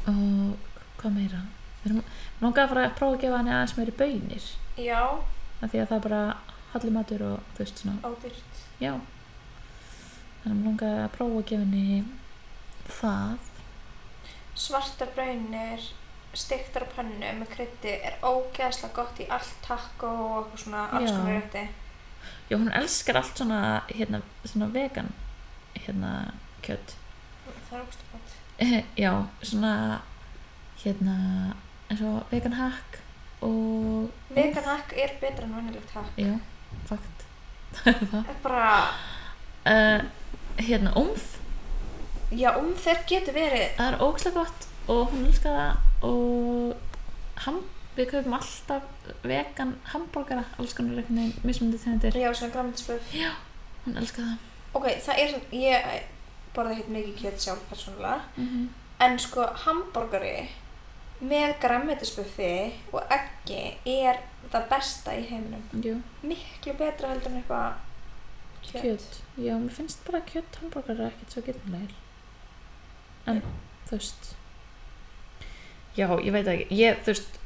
og hvað meira við erum, mér langaði að fara að prófa að gefa henni aðeins meiri baunir
já.
af því að það bara hallimatur og þú veist svona,
ódýrt.
já þannig að mér langaði að prófa að gefa henni það
Svartar brauðnir, stiktar á pönnu með krytti er ógeðslega gott í allt taco og eitthvað svona alls
Já.
konar rétti.
já, hún elskar allt svona, hérna, svona vegan hérna, kjött
Það er ógeðslega gott.
*laughs* já, svona hérna, eins og vegan hack og
Vegan hack er betra en venjulegt hack.
já, fakt
Það er bara,
uh, hérna, umf
já, um þeir getur verið.
það er ógæslega gott og hún elskar það og ham, við kaupum alltaf vegan hambúrgara, alls konar einhvern veginn mismunandi tegundir,
Já, svona græmitisblöð.
hún elskar það
Ok, það er svona, ég borða hitt mikið kjöt sjálf persónulega.
mm -hmm.
En sko, hambúrgari með græmitisbuffi og eggi er það besta í heiminum.
jú,
Miklu betra heldur en eitthvað kjöt.
kjöt já, mér finnst bara kjöt hambúrgara ekkert svo getnilegir en, þú veist já, ég veit það ekki ég, þú veist,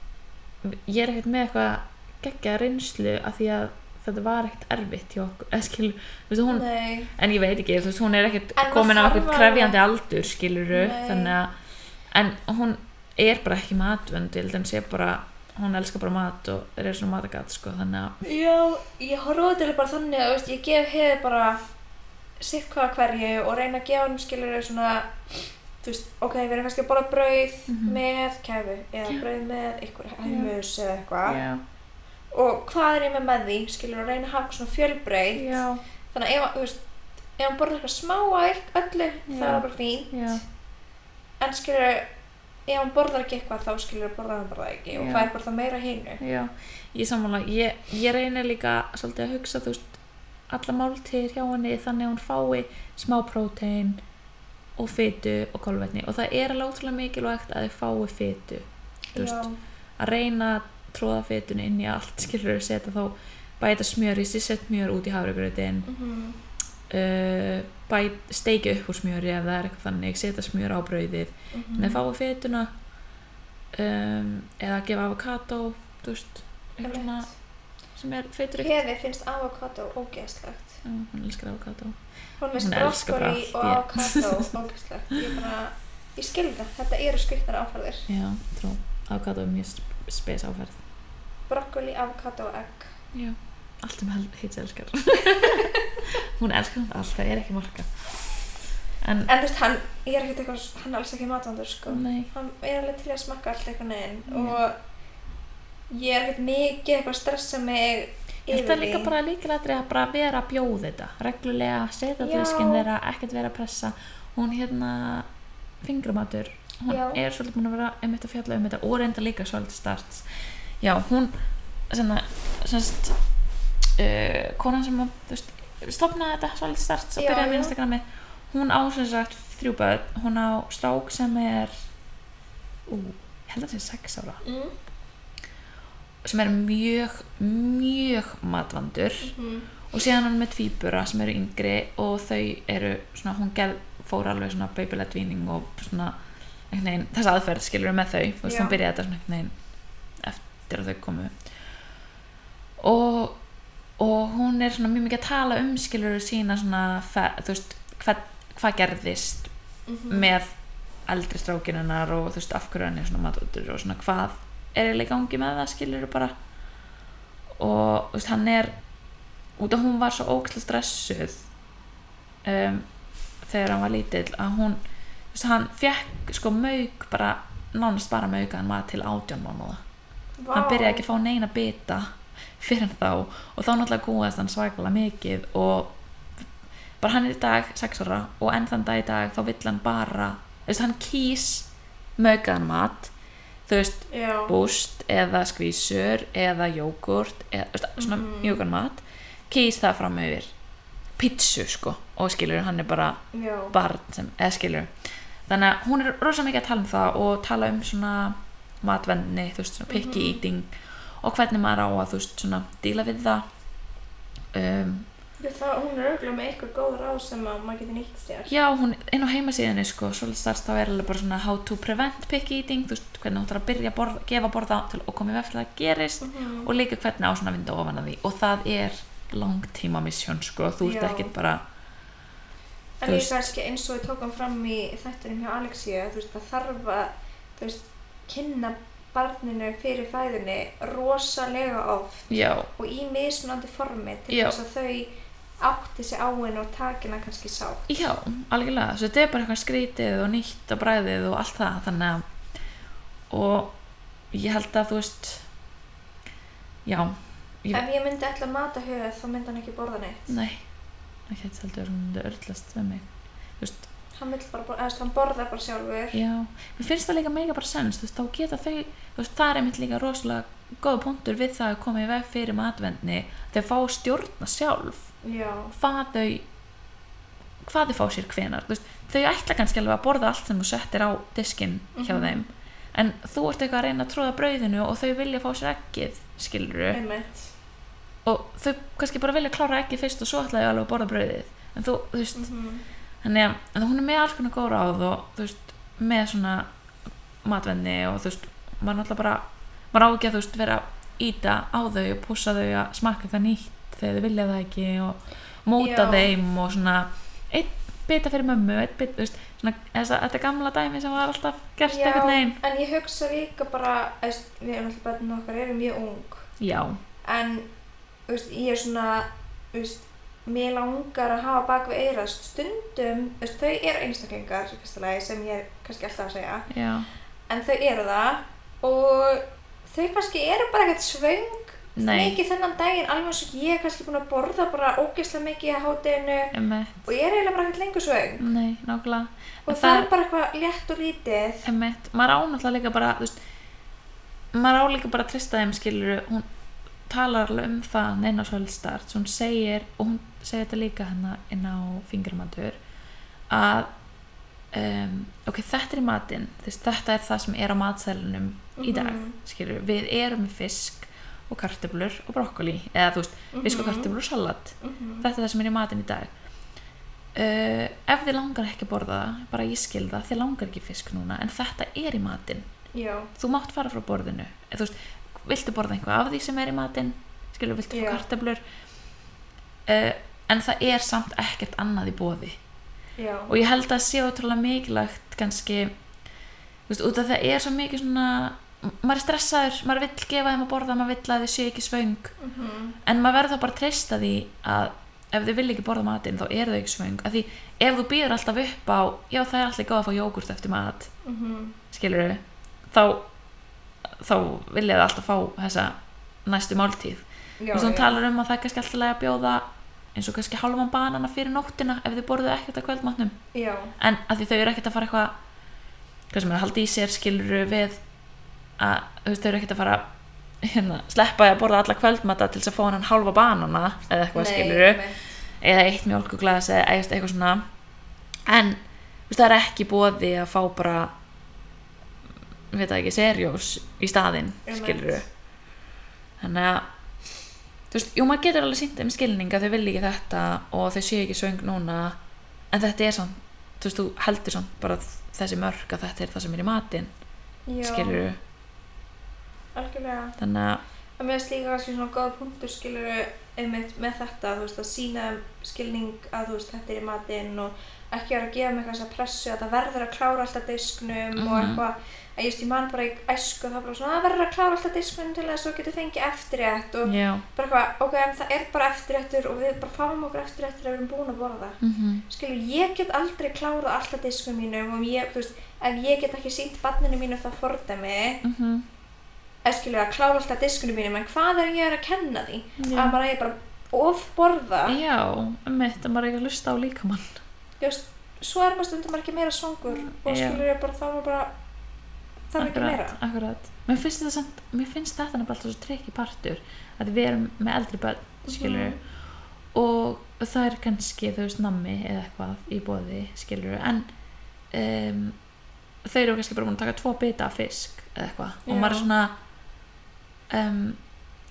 ég er ekkert með eitthvað geggja reynslu af því að þetta var ekkert erfitt hjá okkur, eða skilur, þú veist, hún
Nei,
en ég veit ekki, þú veist, hún er ekkert
En maður
komin á
þarf
eitthvað
alveg-
krefjandi aldur, skiluru
Nei.
þannig að, en hún er bara ekki matvönd, ég held að hún sé bara hún elskar bara mat og er svona matagatt, sko, þannig að
já, ég horfa til bara þannig að veist, ég gef heiði bara sitt hvað hverju og reyna að gefa hann skilur svona þú veist, ok, við erum kannski að borða brauð
Mhm.
með kæfu eða
Já.
brauð með ykkur hæmus eða eitthvað
já,
og hvað er ég með með því, skilur og reyna að hafa svona fjölbreytt
já,
þannig að ef, hann- þú veist, ef hann borðar eitthvað smá að ykk- öllu þá
Já.
er það bara fín
já,
en skilur, ef hann borðar ekki eitthvað þá skilur borðar hann bara það ekki og
Já.
hvað er bara það meira af hinu
já ég sammála, ég, ég reynir líka svolítið að hugsa, þú veist alla máltíðir hjá henni þannig að hún fái smá prótein og fytu og kolvetni og það er alveg ótrúlega mikilvægt að þau fái fytu þú veist,
Já.
að reyna að tróða fetinu inn í allt *laughs* skilur að setja þá bæta smjör í sig, sett smjör út í hafragröðin
Mhm.
uh, bæt, steikja upp úr smjöri ef það er eitthvað þannig, setja smjör á brauðið
Mhm.
þannig að fáa fetuna um, eða gefa avokado þú veist, eitthvað svona
Einmitt.
sem er fetur eitt
Hefi finnst avokado ógeðslegt.
hún elskar avokado
Hún finnst
Hún elskar
brokkoli
bara
og
allt,
avokado
*laughs*
ógeðslegt. Ég bara, ég skilur það. Þetta eru skrittnar áferðir.
já, trú, avokado er mjög sp- spes áferð
Brokkoli, avokado og egg.
já, allt um heits *laughs* elskar hún elskar allt, það er ekki marka en,
En þú veist, hann, ég er ekkert eitthvað, hann er alls ekki matvandur, sko.
nei
Hann er alveg til að smakka allt eitthvað neginn
Já.
og ég er ekkert mikið eitthvað að stressa mig
Ég
yfir
held að líka bara líkilættri að bara vera að bjóða þetta, reglulega, setja til
Já.
skinn þeirra, ekkert vera að pressa. Hún hérna, fingramatur, hún
Já.
er svolítið búin að vera um þetta fjalla um þetta og reynda líka svolítið starts. Já, hún, svona, semst, uh, konan sem, að, þú veist, stopnaði þetta svolítið starts og
Já,
byrjaði með
já.
Instagrami, hún á sem sagt þrjú börn, hún á strák sem er, ú, ég held að það sé sex ára
Mm.
sem er mjög, mjög matvandur
Mm.
og síðan hann með tvíbura sem eru yngri og þau eru svona, hún gerð, fór alveg svona babylet víning og svona einhvern veginn, þess aðferð skilur með þau þú veist,
Já.
hún byrjaði þetta svona einhvern veginn eftir að þau komu og, og hún er svona mjög mikið að tala um skilur sína svona, fe- þú veist, hvað, hvað gerðist
mhm.
með eldri strákinunar og þú veist af hverju hann er svona matútur og svona hvað er eiginlega í gangi með það skilur bara og þú veist hann er út af hún var svo ókslega stressuð um, þegar hann var lítill að hún, þú veist hann fekk sko mauk bara nánast bara maukaðan mat til átján mánuða
Vá.
hann byrjaði ekki að fá neina bita fyrir þá og þá náttúrulega gúðast hann svakalega mikið og bara hann er í dag 6 ára og enn þann dag í dag þá vill hann bara þú veist, hann kýs mögaðan mat þú veist,
Já.
búst eða skvísur eða jógurt eða þú veist, svona
Mhm.
mjögan mat kýs það fram yfir pítsu sko og skilur hann er bara
Já.
barn sem, eða skilur þannig að hún er rosa mikið að tala um það og tala um svona matvendni, þú veist, svona picky
Mhm.
eating og hvernig maður á að, þú veist, svona díla við það um,
Ég Það, hún er auðvitað með eitthvað góð ráð sem að maður getur nýtt sér.
já, hún, inn á heimasíðinni sko, svolítið starst þá er alveg bara svona how to prevent picky eating, þú veist, hvernig hún þarf að byrja að borða, gefa að borða til og komið veftir það gerist
Mhm.
og líka hvernig á svona að vinda ofan að því og það er langtíma misjón sko, þú ert
Já.
ekkert bara
En
Þú
ég
veist-
kannski eins og við tókum fram í þættunum hjá Alexíu, þú veist, það þarf að, þú veist, kynna barninu fyrir fæðunni rosalega oft
já,
og í mismunandi formi til
Já.
þess að þau átti sig á henn og takina kannski sátt.
já, algjörlega svo þetta er bara eitthvað skrítið og nýtt og bræðið og allt það, þannig að og ég held að þú veist já, Ég-
Ef ég myndi ætla að mata höfuð þá myndi hann ekki borða neitt.
nei ekki þetta heldur, hún myndi örlast með mig þú veist,
Hann vill bara, borða, eða þú veist, hann borðar bara sjálfur.
Já, mér finnst það líka mega bara sens, þú veist, þá geta þau, þú veist, það er einmitt líka rosalega góða punktur við það að koma í veg fyrir matvendni, þau fá að stjórna sjálf,
Já,
hvað þau, hvað þau fá sér hvenar, þú veist, þau ætla kannski alveg að borða allt sem þú settir á diskin hjá
Mhm.
þeim, en þú ert eitthvað að reyna að tróða brauðinu og þau vilja fá sér ekkið, skiluru,
einmitt.
og þau kannski bara vilja klára ekkið fyrst og svo ætla þau alveg að borða brauðið, en þú, þú veist,
Mhm.
þannig að en hún er með alls konar góð ráð og þú veist, með svona matvenni og þú veist, maður náttúrulega bara maður á ekki að þú veist vera að íta á þau og pússa þau að smakka eitthvað nýtt þegar þau vilja það ekki og móta
Já.
þeim og svona einn bita fyrir mömmu, einn bita, þú veist svona, þessa, þetta gamla dæmi sem var alltaf gert
Já.
einhvern veginn
En ég hugsa líka bara, þú veist, við erum alltaf börnin okkar, erum mjög ung.
Já,
en þú veist, ég er svona þú veist, mér langar að hafa bak við eyrað stundum þú veist, þau eru einstaklingar í fyrsta lagi, sem ég er kannski alltaf að segja
já,
en þau eru það og þau kannski eru bara ekkert svöng
Nei.
mikið þennan daginn alveg eins og ég er kannski búin að borða bara ógeðslega mikið í hátinu
emmitt,
og ég er eiginlega bara ekkert lengur svöng
nei, nákvæmlega
og
En
það, er bara eitthvað létt og lítið
Einmitt, maður á náttúrulega líka bara þú veist, maður á líka bara að trista þeim skilur hún talar alveg um það neina svolstart hún segir, og hún segir þetta líka hérna inn á fingramandur að um, ok, þetta er matinn þess, þetta er það sem er á matselinum í dag,
Mhm.
skilur við erum með fisk og kartöflur og brokkoli, eða þú veist, fisk og kartöflur og salat
Mhm.
þetta er það sem er í matinn í dag uh, ef þið langar ekki að borða það bara ég skil það, þið langar ekki fisk núna en þetta er í matinn,
já,
þú mátt fara frá borðinu eða þú veist, viltu borða einhvað af því sem er í matinn skilur, viltu
Já.
fá kartablur uh, en það er samt ekkert annað í bóði
já,
og ég held að sé ótrúlega mikilvægt kannski þú veist, út af það er svo mikið svona m- maður er stressaður, maður vill gefa þeim að borða maður vill að þið séu ekki svöng
Mhm.
en maður verður þá bara að treysta því að ef þau vilja ekki borða matinn þá eru þau ekki svöng af því ef þú býður alltaf upp á já það er alltaf góð að fá jógurt eftir mat
Mhm.
skilur þá þá vilja þau alltaf fá þessa næstu máltíð
já, já.
og svo hún talar um að það er kannski alltaf lagi að bjóða eins og kannski halvan banana fyrir nóttina ef þau borðu ekkert að kvöldmatnum
já,
en að því þau eru ekkert að fara eitthvað hvað sem er að halda í sér skilur við að þú veist, þau eru ekkert að fara hérna, sleppa að borða alla kvöldmata til þess að fá hann halva banana eða eitthvað skilur
einmitt.
eða eitt mjólkuglas eða eða eitthvað svona en þú veist, það er ekki bóði að fá bara við það ekki, serjós í staðinn
Einmitt.
skilur þannig að þú veist, jú maður getur alveg sínt um skilning að þau vilja ekki þetta og þau séu ekki svöng núna en þetta er samt þú veist, þú heldur samt bara þessi mörg að þetta er það sem er í matinn
Já,
skilur
algjörlega
þannig að,
Það mér finnst líka kannski svona góð punktur skilur einmitt með þetta, þú veist, að sína skilning að þú veist, þetta er í matinn og ekki vera að gefa mig þessa pressu að það verður að klára alltaf disknum og
Mhm.
eitthvað, að ég veist, ég man bara í æsku það bara svona, það verður að klára alltaf disknum til þess að þú getur fengið eftirrétt og
já
bara eitthvað, ok, en það er bara eftirréttur og við bara fáum okkur eftirréttur ef við erum búin að borða
mm -hmm.
skilur, ég get aldrei klárað alltaf diskum mínum og ég, þú veist, ef ég get ekki sínt barninu mínu það fordæmi
mhm,
eða skilur að klára alltaf diskunum mínum en hvað er ég að vera að kenna því
Já.
að maður eigi bara ofborða
já, um eitt að maður eiga að hlusta á líkamann
Just, svo er maður stundum maður ekki meira svangur og
Já.
skilur ég bara þá er maður bara þarf ekki meira
akkurat, akkurat. Mér, finnst þetta samt, mér finnst þetta nefnilega alltaf svo tryggi partur að við erum með eldri börn skilur
Mhm.
og það er kannski þú veist nammi eða eitthvað í bóði skilur en um, þau eru kannski bara búin að taka tvo bita af fisk eða eitthvað og
Já.
maður er svona um,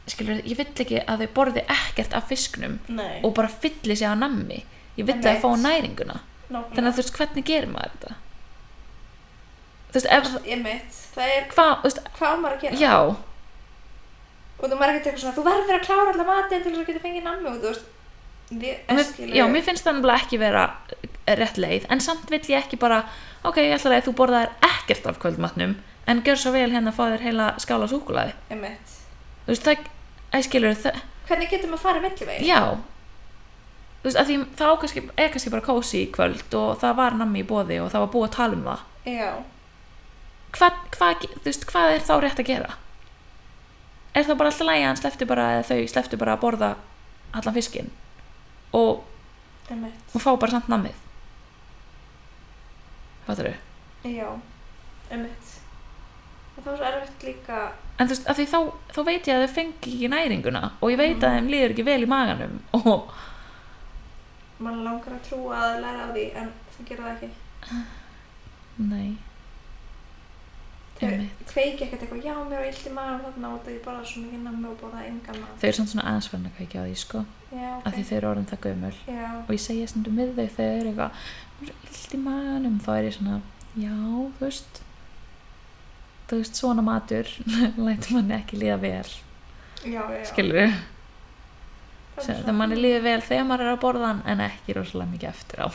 skilur, ég vill ekki að þau borði ekkert af fisknum
Nei,
og bara fylli sig á nammi ég vill að þau
Einmitt.
fá næringuna þannig
nákvæmlega
að þú veist hvernig gerir maður þetta þú veist ef
Ég mitt, það er
hvað, þú veist
hvað á maður að gera
Já
og þú maður ekkert eitthvað svona, þú verður að klára alla matinn til þess að geta fengið nammi og þú veist við,
Mér,
skilur-
já, mér finnst það nefnilega ekki vera eh, rétt leið, en samt vill ég ekki bara ok, ég ætla að þú borðaðir ekkert af kvöldmatnum, en gjör svo vel hérna að fá þér heila skála súkulaði
einmitt.
þú veist, það, að skilur það,
hvernig getum við að fara mellum veginn?
já þú veist, að því þá kannski, er kannski bara kósi í kvöld og það var nammi í bóði og það var búið að tala um það
já,
hvað, hvað, þú veist, hvað er þá rétt að gera? Er það bara alltaf lægi að hann slefti bara, eða þau slefti bara að borða allan fiskinn og,
einmitt
og fá bara samt namið? Fattar þau?
já, einmitt og það var svo erfitt líka
En þú veist, af því þá, þá veit ég að þau fengi ekki næringuna og ég veit
Mm.
að þeim líður ekki vel í maganum og
mann langar að trúa að læra á því en þú gerir það ekki
nei,
þau
Einmitt.
kveiki ekkert eitthvað, já, mér var illt í maður þarna út að ég borða svo mikið nammi og borða engan nammi
þau eru samt svona aðeins farin að kveikja á því, sko,
já,
af því
ok,
þau eru orðin það gömul
já,
og ég segja stundum við þau þegar þau eru eitthvað "Mér er svo illt í maganum, þá er ég svona já, þú veist þú veist, svona matur *laughs* lætur manni ekki líða vel
já, já
skilur við,
það
það manni líður vel þegar maður er að borða hann en ekki rosalega mikið eftir á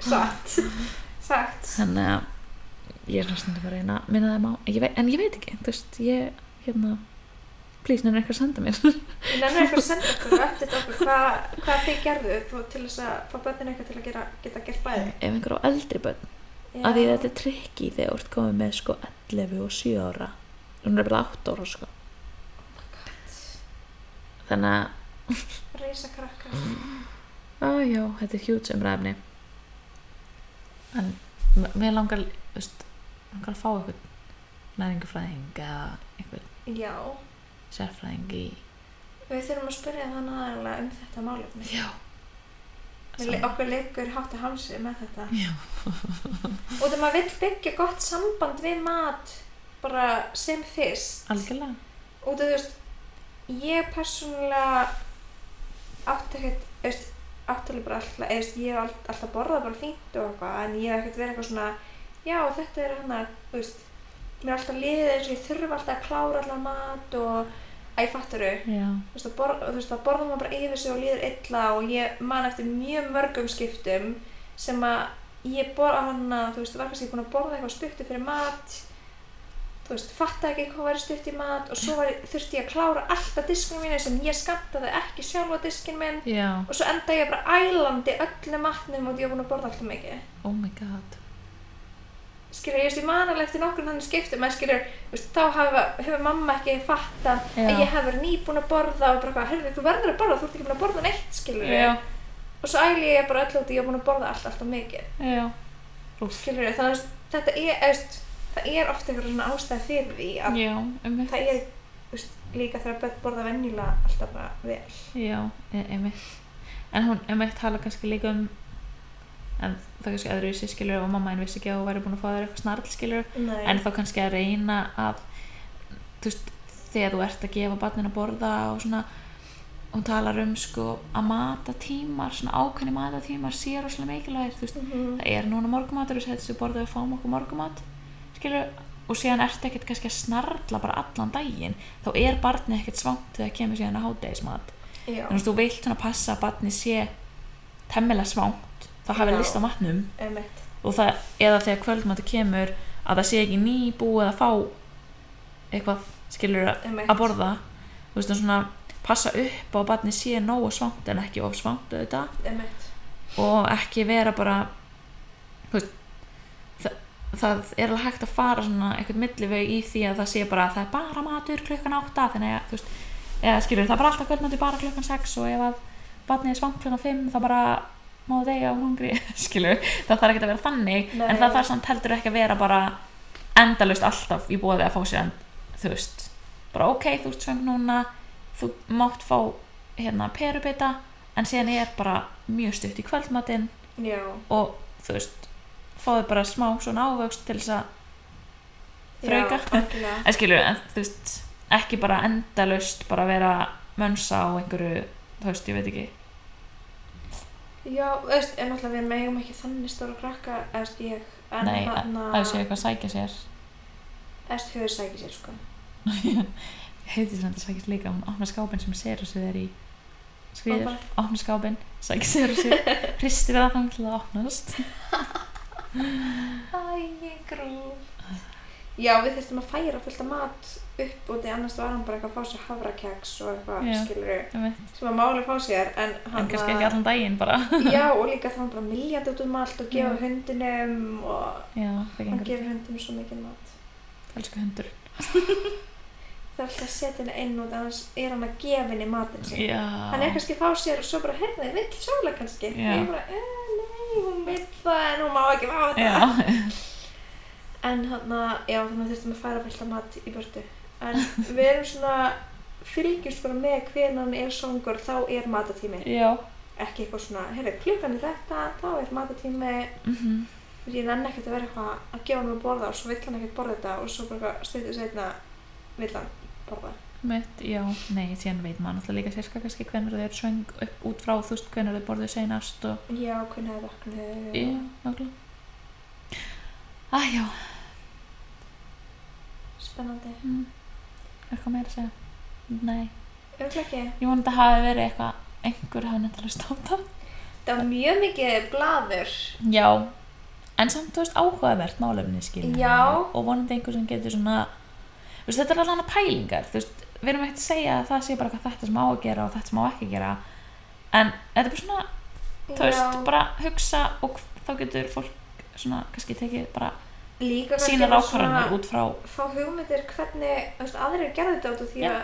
*laughs*
sagt, sagt
þannig að ég er svona stundum að reyna að minna þeim á, ég veit, en ég veit ekki þú veist, ég, hérna please, nefnir eitthvað að senda *laughs* mér
Ég nefnir eitthvað að senda okkur og eftir okkur hvað, hvað þið gerðu þú- til þess að fá börnin eitthvað til að gera, geta gert bæði.
ef einhver á eldri börn,
Já,
af því þetta er trikki þegar þú ert komið með sko 11 og 7 ára hún er bara 8 ára sko
Oh
þannig að
Reisa krakkar.
Æjá, þetta er hjút umræfni En m- mér langar þú veist, langar að fá einhvern næringufræðing eða einhvern
Já,
sérfræðing í
við þurfum að spyrja þann aðalega um þetta málefni.
Já,
Við le- okkur leikur hátt að hamsi með þetta.
Já.
og þegar maður vill byggja gott samband við mat bara sem fyrst.
algjörlega
Og þú veist, ég persónulega átti ekkert, þú veist, áttalega bara alltaf, eða þú veist, ég hef all- alltaf borðað bara fínt og eitthvað, en ég hef ekkert verið eitthvað svona, já, þetta er hann að, þú veist, mér er alltaf liðið eins og ég þurfa alltaf að klára alltaf mat og, að ég fattur þau,
Já,
þú veist, að borða, þú veist, að borða maður bara yfir sig og líður illa og ég man eftir mjög mörgum skiptum sem að ég borða hann að, þú veist, var kannski búin að borða eitthvað stuttu fyrir mat, þú veist, fatta ekki hvað væri stutt í mat og svo var, ég- þurfti ég að klára alltaf diskinu mínu sem ég skamtaði ekki sjálfa diskin minn
já,
og svo enda ég bara ælandi öllum matnum og ég var búin að borða alltaf mikið
oh my god
skilur, ég veist, ég man alveg eftir nokkur þannig skiptum, en skilur, þú veist, þá hafa, hefur mamma ekki fatta
Já.
að ég hef verið nýbúin að borða og bara, herði, þú verður að borða, þú ert ekki búin að borða neitt, skilur og svo æli ég bara öll út í, ég er búin að borða allt, alltaf mikið,
já
skilur, þannig að þú veist, þetta er, þú veist, það er ofta einhver svona ástæð fyrir því að
Já, um
það er, þú veist, líka þegar börn borða venjulega alltaf bara vel,
Já, e- einmitt En hún, einmitt, tala kannski líka um en það kannski öðruvísi skilur ef að mamma einn vissi ekki að þú væri búin að fá þér eitthvað snarl skilur
Nei.
en þá kannski að reyna að þú veist, þegar þú ert að gefa barnin að borða og svona hún talar um sko að matatímar svona ákveðni matatímar sé rosalega mikilvægir, þú veist,
Mhm.
það er núna morgumatur og setjum við borðið og fáum okkur morgumat skilur, og síðan ertu ekkert kannski að snarla bara allan daginn þá er barnið ekkert svangt þegar kemur síðan að hádegismat,
já,
en þú veist, þú vilt svona passa að barnið sé temmilega svangt þá hafi
Já.
list á matnum
emitt,
og það, eða þegar kvöldmáttu kemur að það sé ekki nýbúið að fá eitthvað skilur
Einmitt.
að borða þú veist, og svona passa upp á að barni sé nógu svangt en ekki of svangt auðvitað
emitt,
og ekki vera bara þú veist, það, það er alveg hægt að fara svona eitthvað milliveg í því að það sé bara að það er bara matur klukkan átta þannig að þú veist, eða skilur það er bara alltaf kvöldmáttu bara klukkan sex og ef að barnið er svangt klukkan fimm þá bara má það eiga og hungri *laughs* skilur, það þarf ekki að vera þannig
Nei.
en það þarf samt heldur ekki að vera bara endalaust alltaf í bóði að fá sér en, þú veist, bara ok þú ert svöng núna, þú mátt fá hérna perubita en síðan er bara mjög stutt í kvöldmatinn
já,
og þú veist fáðu bara smá svona ávöxt til þess að Þrauka.
já, algjörlega.
en skilur, en þú veist ekki bara endalaust bara vera mönsa á einhverju, þú veist, ég veit ekki
Já, þú veist, en alltaf við megum ekki þannig stóra krakka, eða þú veist, ég, en
Nei,
þarna,
að sé eitthvað að sækja sér
eða þú veist, höfðu sækir sér, sko.
heiti sem þetta sækist líka hún opnar skápinn sem Serusið er í skriður,
Opnar.
opnar skápinn sækist Serusið,
*laughs*
hristir það þannig til það opnast
Æ, grú. Já, við þurftum að færa fullt af mat upp úti, annars var hann bara eitthvað að fá sér hafrakeks og eitthvað,
Já.
skilur
Einmitt.
sem að máli fá sér, en hann
en kannski ekki allan daginn
*laughs*
bara
Já, og líka þá hann bara miljandi út um allt og gefa
Já.
hundinum og
já, það
hann
gengur,
gefur hundum svo mikið mat.
elsku hundur
Það er alltaf að setja henni inn út, annars er hann að gefa henni matinn sinn.
já,
Hann er kannski að fá sér og svo bara, hérna, ég vill sóla kannski.
Já.
Ég er bara, eh, nei, hún vill það en hún má ekki fá þetta.
já,
En hann að, já, þannig að þurftum að færa fullt af mat í börtu. En við erum svona, fylgjumst bara með hvernig hann er songur, þá er matatími.
*laughs* já
Ekki eitthvað svona, heyrðu, klukkan er þetta, þá er matatími.
mhm,
Þú veist, ég nenni ekkert að vera eitthvað að gefa hann að borða og svo vill hann ekkert borða þetta og svo bara eitthvað stuttu setna vill hann borða.
mitt, já, nei, síðan veit maður náttúrulega líka sérska kannski hvernig þau eru svöng upp út frá, þú veist, hvernig þau borðu seinast og,
Já, hvernig það vaknaði
já,
og
nákvæmlega að já,
spennandi.
mm, eitthvað meira að segja nei,
Örugglega ekki.
ég vona þetta hafi verið eitthvað einhver hafi nefndilega státa
Það var mjög mikið blaður.
já, en samt, þú veist, áhugavert málefni skilja
Já.
og vonandi einhver sem getur svona þú veist, þetta er allan að pælingar þú veist, við erum ekkert að segja að það sé bara hvað þetta sem á að gera og þetta sem á ekki að gera en þetta er bara svona þú veist,
Já.
bara hugsa og þá getur fólk svona, kannski tekið bara
Líka kannski
sína
bara
rákvarðanir út frá
fá hugmyndir hvernig, þú veist, aðrir gerðu þetta út af því
Já.
að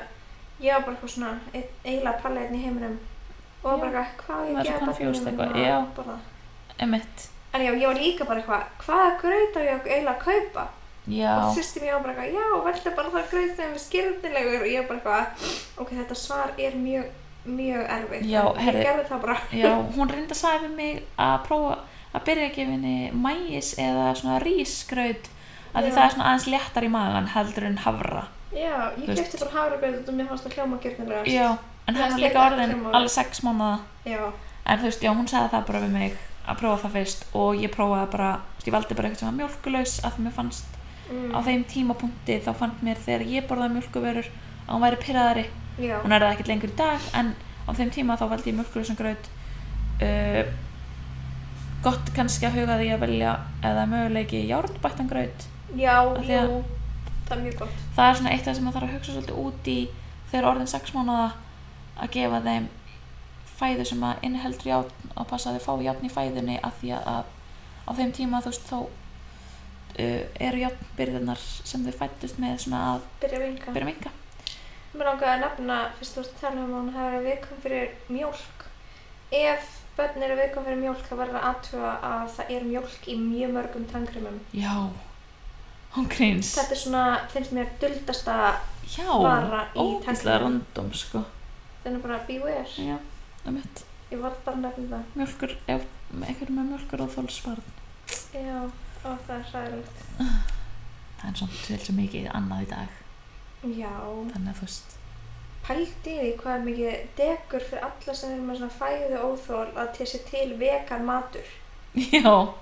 ég var bara eitthvað svona einn- eiginlega palla einn í heiminum og
Já.
bara eitthvað, hvað á ég
Maður er
að
svo
gefa
confused
barninu
eitthvað,
mínu
já.
að borða?
emitt,
En já, ég var líka bara eitthvað, hvaða gröyt á ég að eiginlega að kaupa?
já
og sýstir mér á bara eitthvað, já, veldu bara það gröð þegar við skyrnilegur og ég bara eitthvað, ok, þetta svar er mjög, mjög erfitt.
Já,
En
heyrðu-
Ég gerði það bara.
já, hún reyndi að sagði við mig að prófa að byrja að gefa henni mæis eða svona rísgraut að því
Já.
það er svona aðeins léttar í magan heldur en hafra
Já, ég
Þú veist-
kefti bara hafragröð út og mér fannst það hljóma gjörðinlega.
já, en
Það
hann
er
var líka
slétt-
orðin
hljómar.
alveg sex mánuða
Já,
en þú veist, já, hún sagði það bara við mig að prófa það fyrst og ég prófaði bara þú veist, ég valdi bara eitthvað sem var mjölkulaus að því mér fannst
Mm.
á þeim tímapunkti þá fannst mér þegar ég borðaði mjölkuvörur að hún væri pyrraðari
já,
hún er það ekkert lengur í dag en á þeim tíma þá valdi ég mjölkulösan graut uh, gott kannski að huga því að velja eða möguleiki járnbættan graut
já,
því
jú,
að-
það er mjög gott.
það er svona eitt af það sem maður þarf að hugsa svolítið út í þegar orðin 6 mánuða að gefa þeim fæðu sem að inniheldur járn og passa að þau fá járn í fæðunni af því að, að á þeim tíma þú veist þá uh, eru járnbyrðinar sem þau fættust með svona að
Byrja að vinka.
byrja að minga
Mér langaði að nefna, fyrst þú ert að tala um að hún hafi verið viðkvæm fyrir mjólk. Ef börn eru viðkvæm fyrir mjólk, þá verður að athuga að það er mjólk í mjög mörgum tannkrymum.
já, hún grýns
Þetta er svona, finnst mér, duldasta,
já,
bara í
ógæslega
tankinum.
random Mm. sko
þannig bara beware.
Já, það mitt.
Ég var bara að nefna
Mjölkur, ef einhverjum með mjölkur og þólsbarn.
það. Já, ó, það er sæðilegt.
Það er samt vel svo mikið annað í dag.
Já,
Þannig að þú veist,
pældi því hvað er mikið degur fyrir alla sem er með svona fæðu óþól að til sér til vegan matur.
já,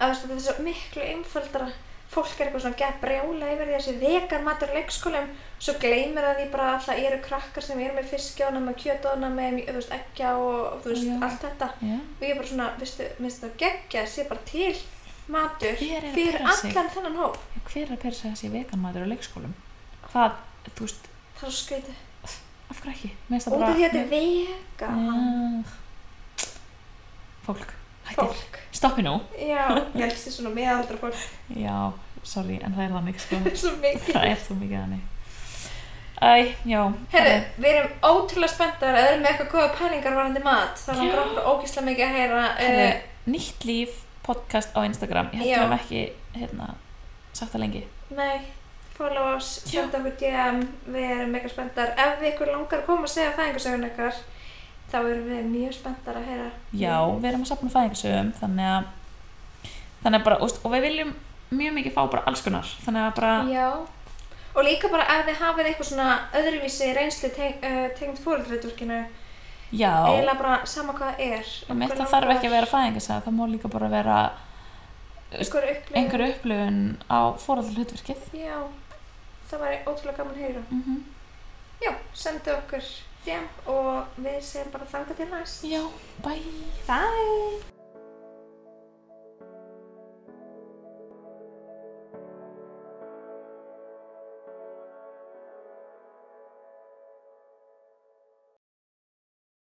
Að þú veist, þetta er svo miklu einfaldara. Fólk er eitthvað svona að geða brjála yfir því að þessi vegan matur í leikskólum, svo gleymir það því bara að það eru krakkar sem eru með fiskjónum, kjötónum, þú veist, eggja og þú veist,
Já.
allt þetta.
já,
og ég er bara svona, veistu, minnst það geggja sé bara til matur
Hver er að
fyrir
pirra sig?
allan þennan hóp
hver er að persa þessi veganmatur á leikskólum? Hvað, þú veist,
það er svo skrítið,
af hverju ekki? Mér finnst
út af
það bara...
því að þetta er vega
Já. Fólk, hættir.
fólk
Stoppi nú.
já, ég helst því svona meðaldra fólk
Já, sorry, en það er
*laughs*
þannig sko.
svo
*laughs* það
mikið
er svo mikið þannig. Æ, já.
Herru, við erum ótrúlega spenntar að erum með eitthvað góða pælingar varandi mat þá erum við okkur ógislega mikið að heyra
Herðu,
uh,
Eh, nýtt líf podcast á Instagram. Ég held
Já.
að við hefum ekki, hérna, sagt það lengi.
nei, follow us,
Já.
senda okkur DM við erum mega spenntar ef við ykkur langar að koma og segja fæðingarsögun ykkar þá erum við mjög spenntar að heyra
Já,
Mm.
við erum að sapna fæðingsögum þannig að, þannig að bara, úst, og við viljum mjög mikið fá bara alls konar þannig að bara,
Já, og líka bara ef þið hafið eitthvað svona öðruvísi reynslu teng, uh, tengd fóreldrætturkinu,
já
eiginlega bara sama hvað það er.
um eitt það þarf ekki að vera fæðingasaga það má líka bara vera
Einhver upplifun.
einhver upplifun á fórhaldur hlutverkið
Já, það væri ótrúlega gaman að heyra.
mm
já, sendu okkur DM og við séum bara þangað til næst
Já, bæ
Bye!